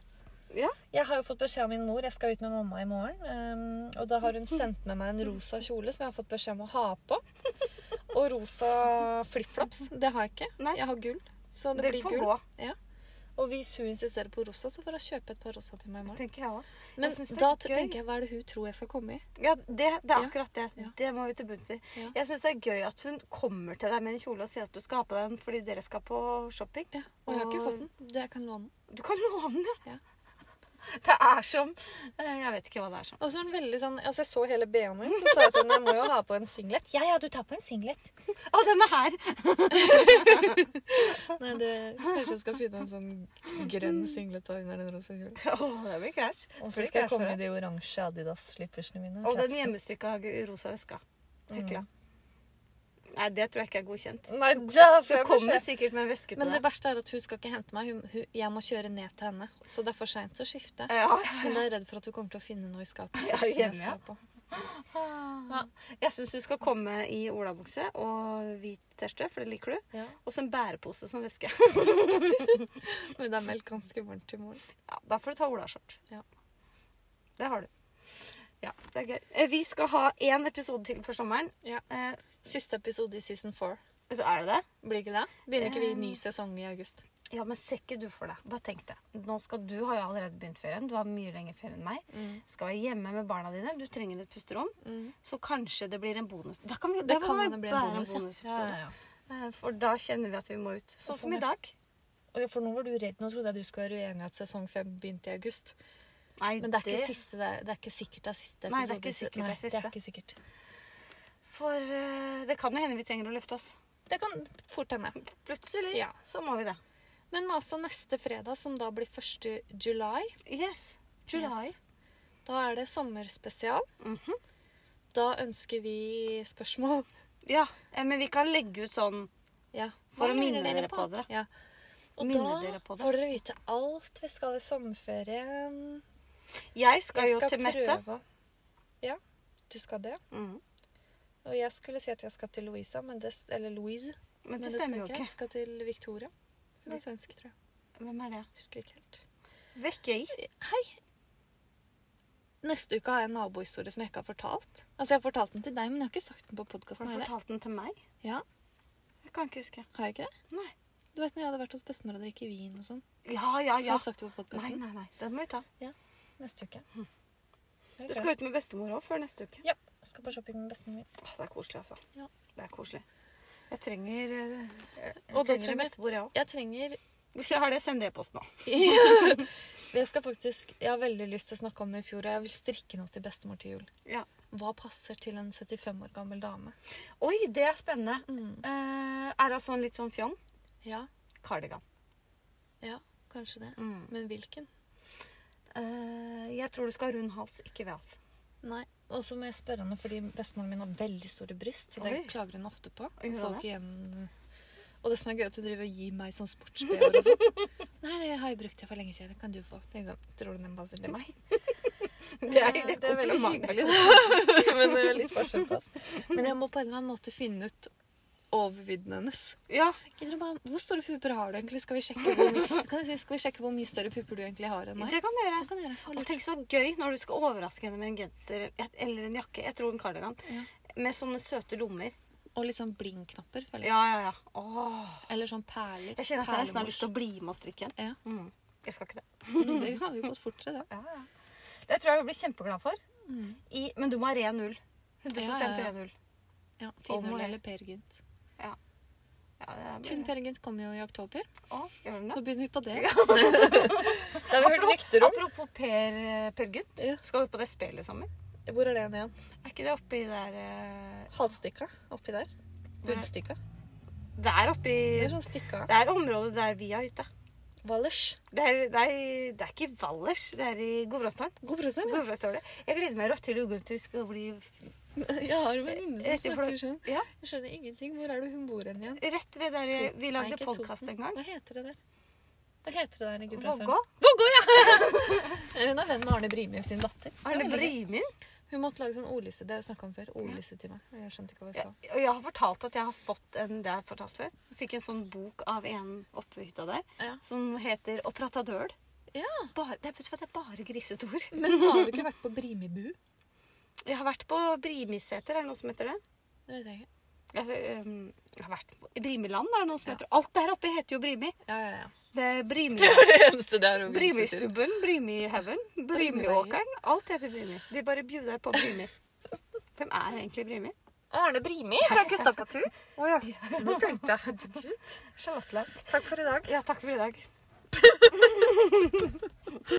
Ja.
Jeg har jo fått beskjed av min mor. Jeg skal ut med mamma i morgen. ehm, og da har hun sendt med meg en rosa kjole som jeg har fått beskjed om å ha på. Og rosa flipflops. Det har jeg ikke.
Nei.
Jeg har gull. Så det,
det
blir
får
gull.
gå,
Og hvis hun insisterer på rosa, så får hun kjøpe et par rosa til meg i morgen.
tenker jeg òg.
Men
synes det er
da
gøy.
tenker jeg, hva er det hun tror jeg skal komme i?
Ja, det, det er
Ja.
akkurat det.
Ja.
Det må vi til bunns i.
Ja.
Jeg syns det er gøy at hun kommer til deg med en kjole og sier at du skal ha på den fordi dere skal på shopping.
Ja, og jeg har ikke
Og-
fått den. Det- Jeg kan låne den.
Du kan låne den.
Ja.
Det er som eh, Jeg vet ikke hva det er som.
Og så er hun veldig sånn, altså Jeg så hele BH-en min, så sa jeg til henne jeg må jo ha på en singlet. Ja, ja, du tar på en singlet.
Å, denne her!
Nei, det, Kanskje jeg skal finne en sånn grønn singlet og under en rosa kjole.
Å, det blir krasj.
Og
For
så
det
skal jeg
krasjer
komme
det.
i de oransje Adidas-slippersene mine.
Og den
capsen.
hjemmestrikka rosa veska.
Mm.
Hekla. Nei, det tror jeg ikke er godkjent.
Nei, da får
Du
jeg
kommer
beskjed.
sikkert med en veske til
Men det
deg.
verste er at hun skal ikke hente meg. Hun, hun, jeg må kjøre ned til henne. Så det er for seint å skifte.
Ja,
Hun er redd for at hun kommer til å finne noe i skapet.
Ja,
sitt som jeg
hjemme,
skal
ja.
ha på.
Ja. Jeg syns du skal komme i olabukse og hvit T-skjorte, for det liker du.
Ja.
Og så en bærepose som veske.
Men det er meldt ganske varmt i morgen.
Ja, da får du ta olaskjørt.
Ja.
Det har du. Ja, det er gøy. Eh, Vi skal ha én episode til før sommeren.
Ja.
Eh,
Siste episode i season four.
så er det det?
Blir ikke det? Begynner ikke vi
Um,
ny sesong i august?
Ja, men ser ikke du for deg. Bare tenk det. Nå skal Du har jo allerede begynt ferien. Du har mye lenger ferie enn meg.
Mm.
Skal være hjemme med barna dine. Du trenger et pusterom.
Mm.
Så kanskje det blir en bonus. Da kan vi,
Det
da
kan
vi
hende bli en
bare
bonus, ja.
bonusepisode. Eh, For da kjenner vi at vi må ut. Sånn
sånn,
som i
ja.
dag.
Og For nå var du redd. Nå trodde jeg du skulle være uenig i at sesong fem begynte i august.
Nei,
Men det er ikke, siste, det er, det er ikke sikkert det er siste
Nei, det er
episode i se-
ikke sikkert det er
Nei, det
siste.
er ikke sikkert.
For eh, det kan jo hende vi trenger å løfte oss.
Det kan fort hende.
Plutselig
Ja.
så må vi det.
Men altså neste fredag, som da blir 1. juli,
Yes. July.
Yes. da er det sommerspesial.
Mhm.
Da ønsker vi spørsmål.
Ja, eh, men vi kan legge ut sånn
Ja.
For
Hva
å minne
lurer
dere på det.
Ja. Og
Minne
da
dere på det.
får dere vite alt vi skal i sommerferien.
Jeg skal
Jeg
jo til Mette.
prøve. Ja, du skal det.
Mm.
Og jeg skulle si at jeg skal til Louisa, men det, eller Louise.
Men det
skal
stemmer jo
jeg
ikke.
Jeg skal til Victoria. Hun
Nei.
er svensk, tror jeg.
Hvem er det?
Husker ikke helt.
Vekkøy.
Hei! Neste uke har jeg en nabohistorie som jeg ikke har fortalt. Altså, jeg har fortalt den til deg, men jeg har ikke sagt den på
Har
podkasten
du
heller.
fortalt den til meg?
Ja,
Jeg kan ikke huske.
har jeg ikke det?
Nei.
Du vet når jeg hadde vært hos bestemor og drikke vin og sånn?
Ja, ja,
Jeg
ja.
har sagt det på
Nei,
podkasten.
nei, nei. Den må vi ta.
Neste uke.
Du skal ut med bestemor òg før neste uke.
Ja. Skal på shopping med bestemor min.
Åh, Det er koselig, altså.
Ja.
Det er koselig. Jeg trenger eh, Jeg, jeg
Og da
trenger en
trenger-
bestemor, jeg òg.
Jeg trenger
Hvis jeg har det, send det i posten nå.
Jeg skal faktisk Jeg har veldig lyst til å snakke om det i fjor, og jeg vil strikke noe til bestemor til jul.
Ja.
Hva passer til en 75 år gammel dame?
Oi, det er spennende.
Mm.
Eh, er det sånn litt sånn fjong?
Ja,
Kardigan.
ja, kanskje det.
Mm.
Men hvilken?
Eh, jeg tror du skal ha rund hals, ikke ved hals.
Nei. Og så må jeg spørre henne, fordi bestemoren min har veldig store bryst. Så
Oi.
det klager hun ofte på.
Gjør hun
Folk
det?
igjen... eh. Og det som er gøy, er at hun driver og gir meg sånn sports-BH-er og sånn. Nei, det har jeg brukt det for lenge siden. Det kan du få. Så jeg sånn, Tror du den passer til meg?
Det er,
Ja,
det er
veldig
kompliment.
hyggelig, da. Men det er litt forskjell på oss. Men jeg må på en eller annen måte finne ut overvidden hennes.
Ja,
Jeg tror bare, Hvor store pupper har du egentlig? Skal vi sjekke hvor mye, kan jeg si, skal vi sjekke hvor mye større pupper du egentlig har enn meg?
det kan du gjøre.
Det kan jeg gjøre.
Og
Hold ut.
tenk så gøy når du skal overraske henne med en genser et- eller en jakke. Jeg tror en kardigan.
Ja.
Med sånne søte lommer.
Og litt sånn blingknapper. føler jeg.
Ja, ja, ja. Åh.
Eller sånn perler.
Jeg kjenner at jeg nesten har
perlemors.
lyst til å bli med og strikke en.
Ja.
Mm. Jeg skal ikke det.
Mm, Det kan vi godt fortere, det.
Ja, ja. Det tror jeg hun blir kjempeglad for.
Mm.
I, men du må ha ren ull. 100
Ja, ja, ja.
ren ull.
Ja,
Om og
Finull
jeg.
eller Peer Gynt.
Ja, det er
Tynn
bare...
Peer Gynt kommer jo i oktober.
Å, gjør den
Nå
det?
begynner vi på det. Det har vi hørt rykter om.
Apropos Per, eh, per Gynt.
Ja.
Skal du på det spelet sammen?
Hvor er det igjen?
Er ikke det oppi der eh,
Halsstikka? Oppi der? Bunnstikka?
Det er oppi
Det er sånn stikka.
Det er området der vi har hytte.
Wallers.
Det er, det, er, det er ikke i Valdres, det er i Gudbrandsdalen.
God prosent. ja.
Gudbrandsdalen. Jeg gleder meg rått til Uguntus skal bli
Jeg har en venninne
Rett i
som
blå-
snakker sånn.
Ja,
Jeg skjønner ingenting. Hvor er det hun bor hen igjen?
rett ved der
To-
vi
Nei,
lagde
ikke
podkast
Toten.
en gang.
Hva heter det der? Hva heter det der i Gudbrandsdalen?
Vågå.
Vågå, ja! Hun er venn med Arne Brimi sin datter.
Arne
Det var veldig gøy.
Brymin.
Hun måtte lage sånn ordliste. Det har jeg snakka om før. Ordliste til meg. Jeg skjønte ikke hva hun
Ja,
sa.
Og jeg har fortalt at jeg har fått en det har jeg fortalt før. Jeg fikk en sånn bok av en oppe ved hytta der
Ja.
som heter 'Å prata døl'.
Ja.
Bare, det, er- vet du hva, det er bare grisete ord.
Men har du ikke vært på Brimibu?
Jeg har vært på Brimiseter, er det noe som heter det?
Det vet jeg ikke.
Jeg, ehm, jeg har vært på Brimiland, er det noe som heter Alt der oppe heter jo Brimi.
Ja, ja, ja.
Det er Brimi...
det eneste det er
Brimistubben, Brimihaugen, Brimiåkeren. Alt heter Brimi. De bare bjuder på Brimi. Hvem er egentlig Brimi?
Arne Brimi fra Gutta på tur. Nå tenkte jeg
Charlotteland.
Takk for i dag.
Ja, takk for i dag.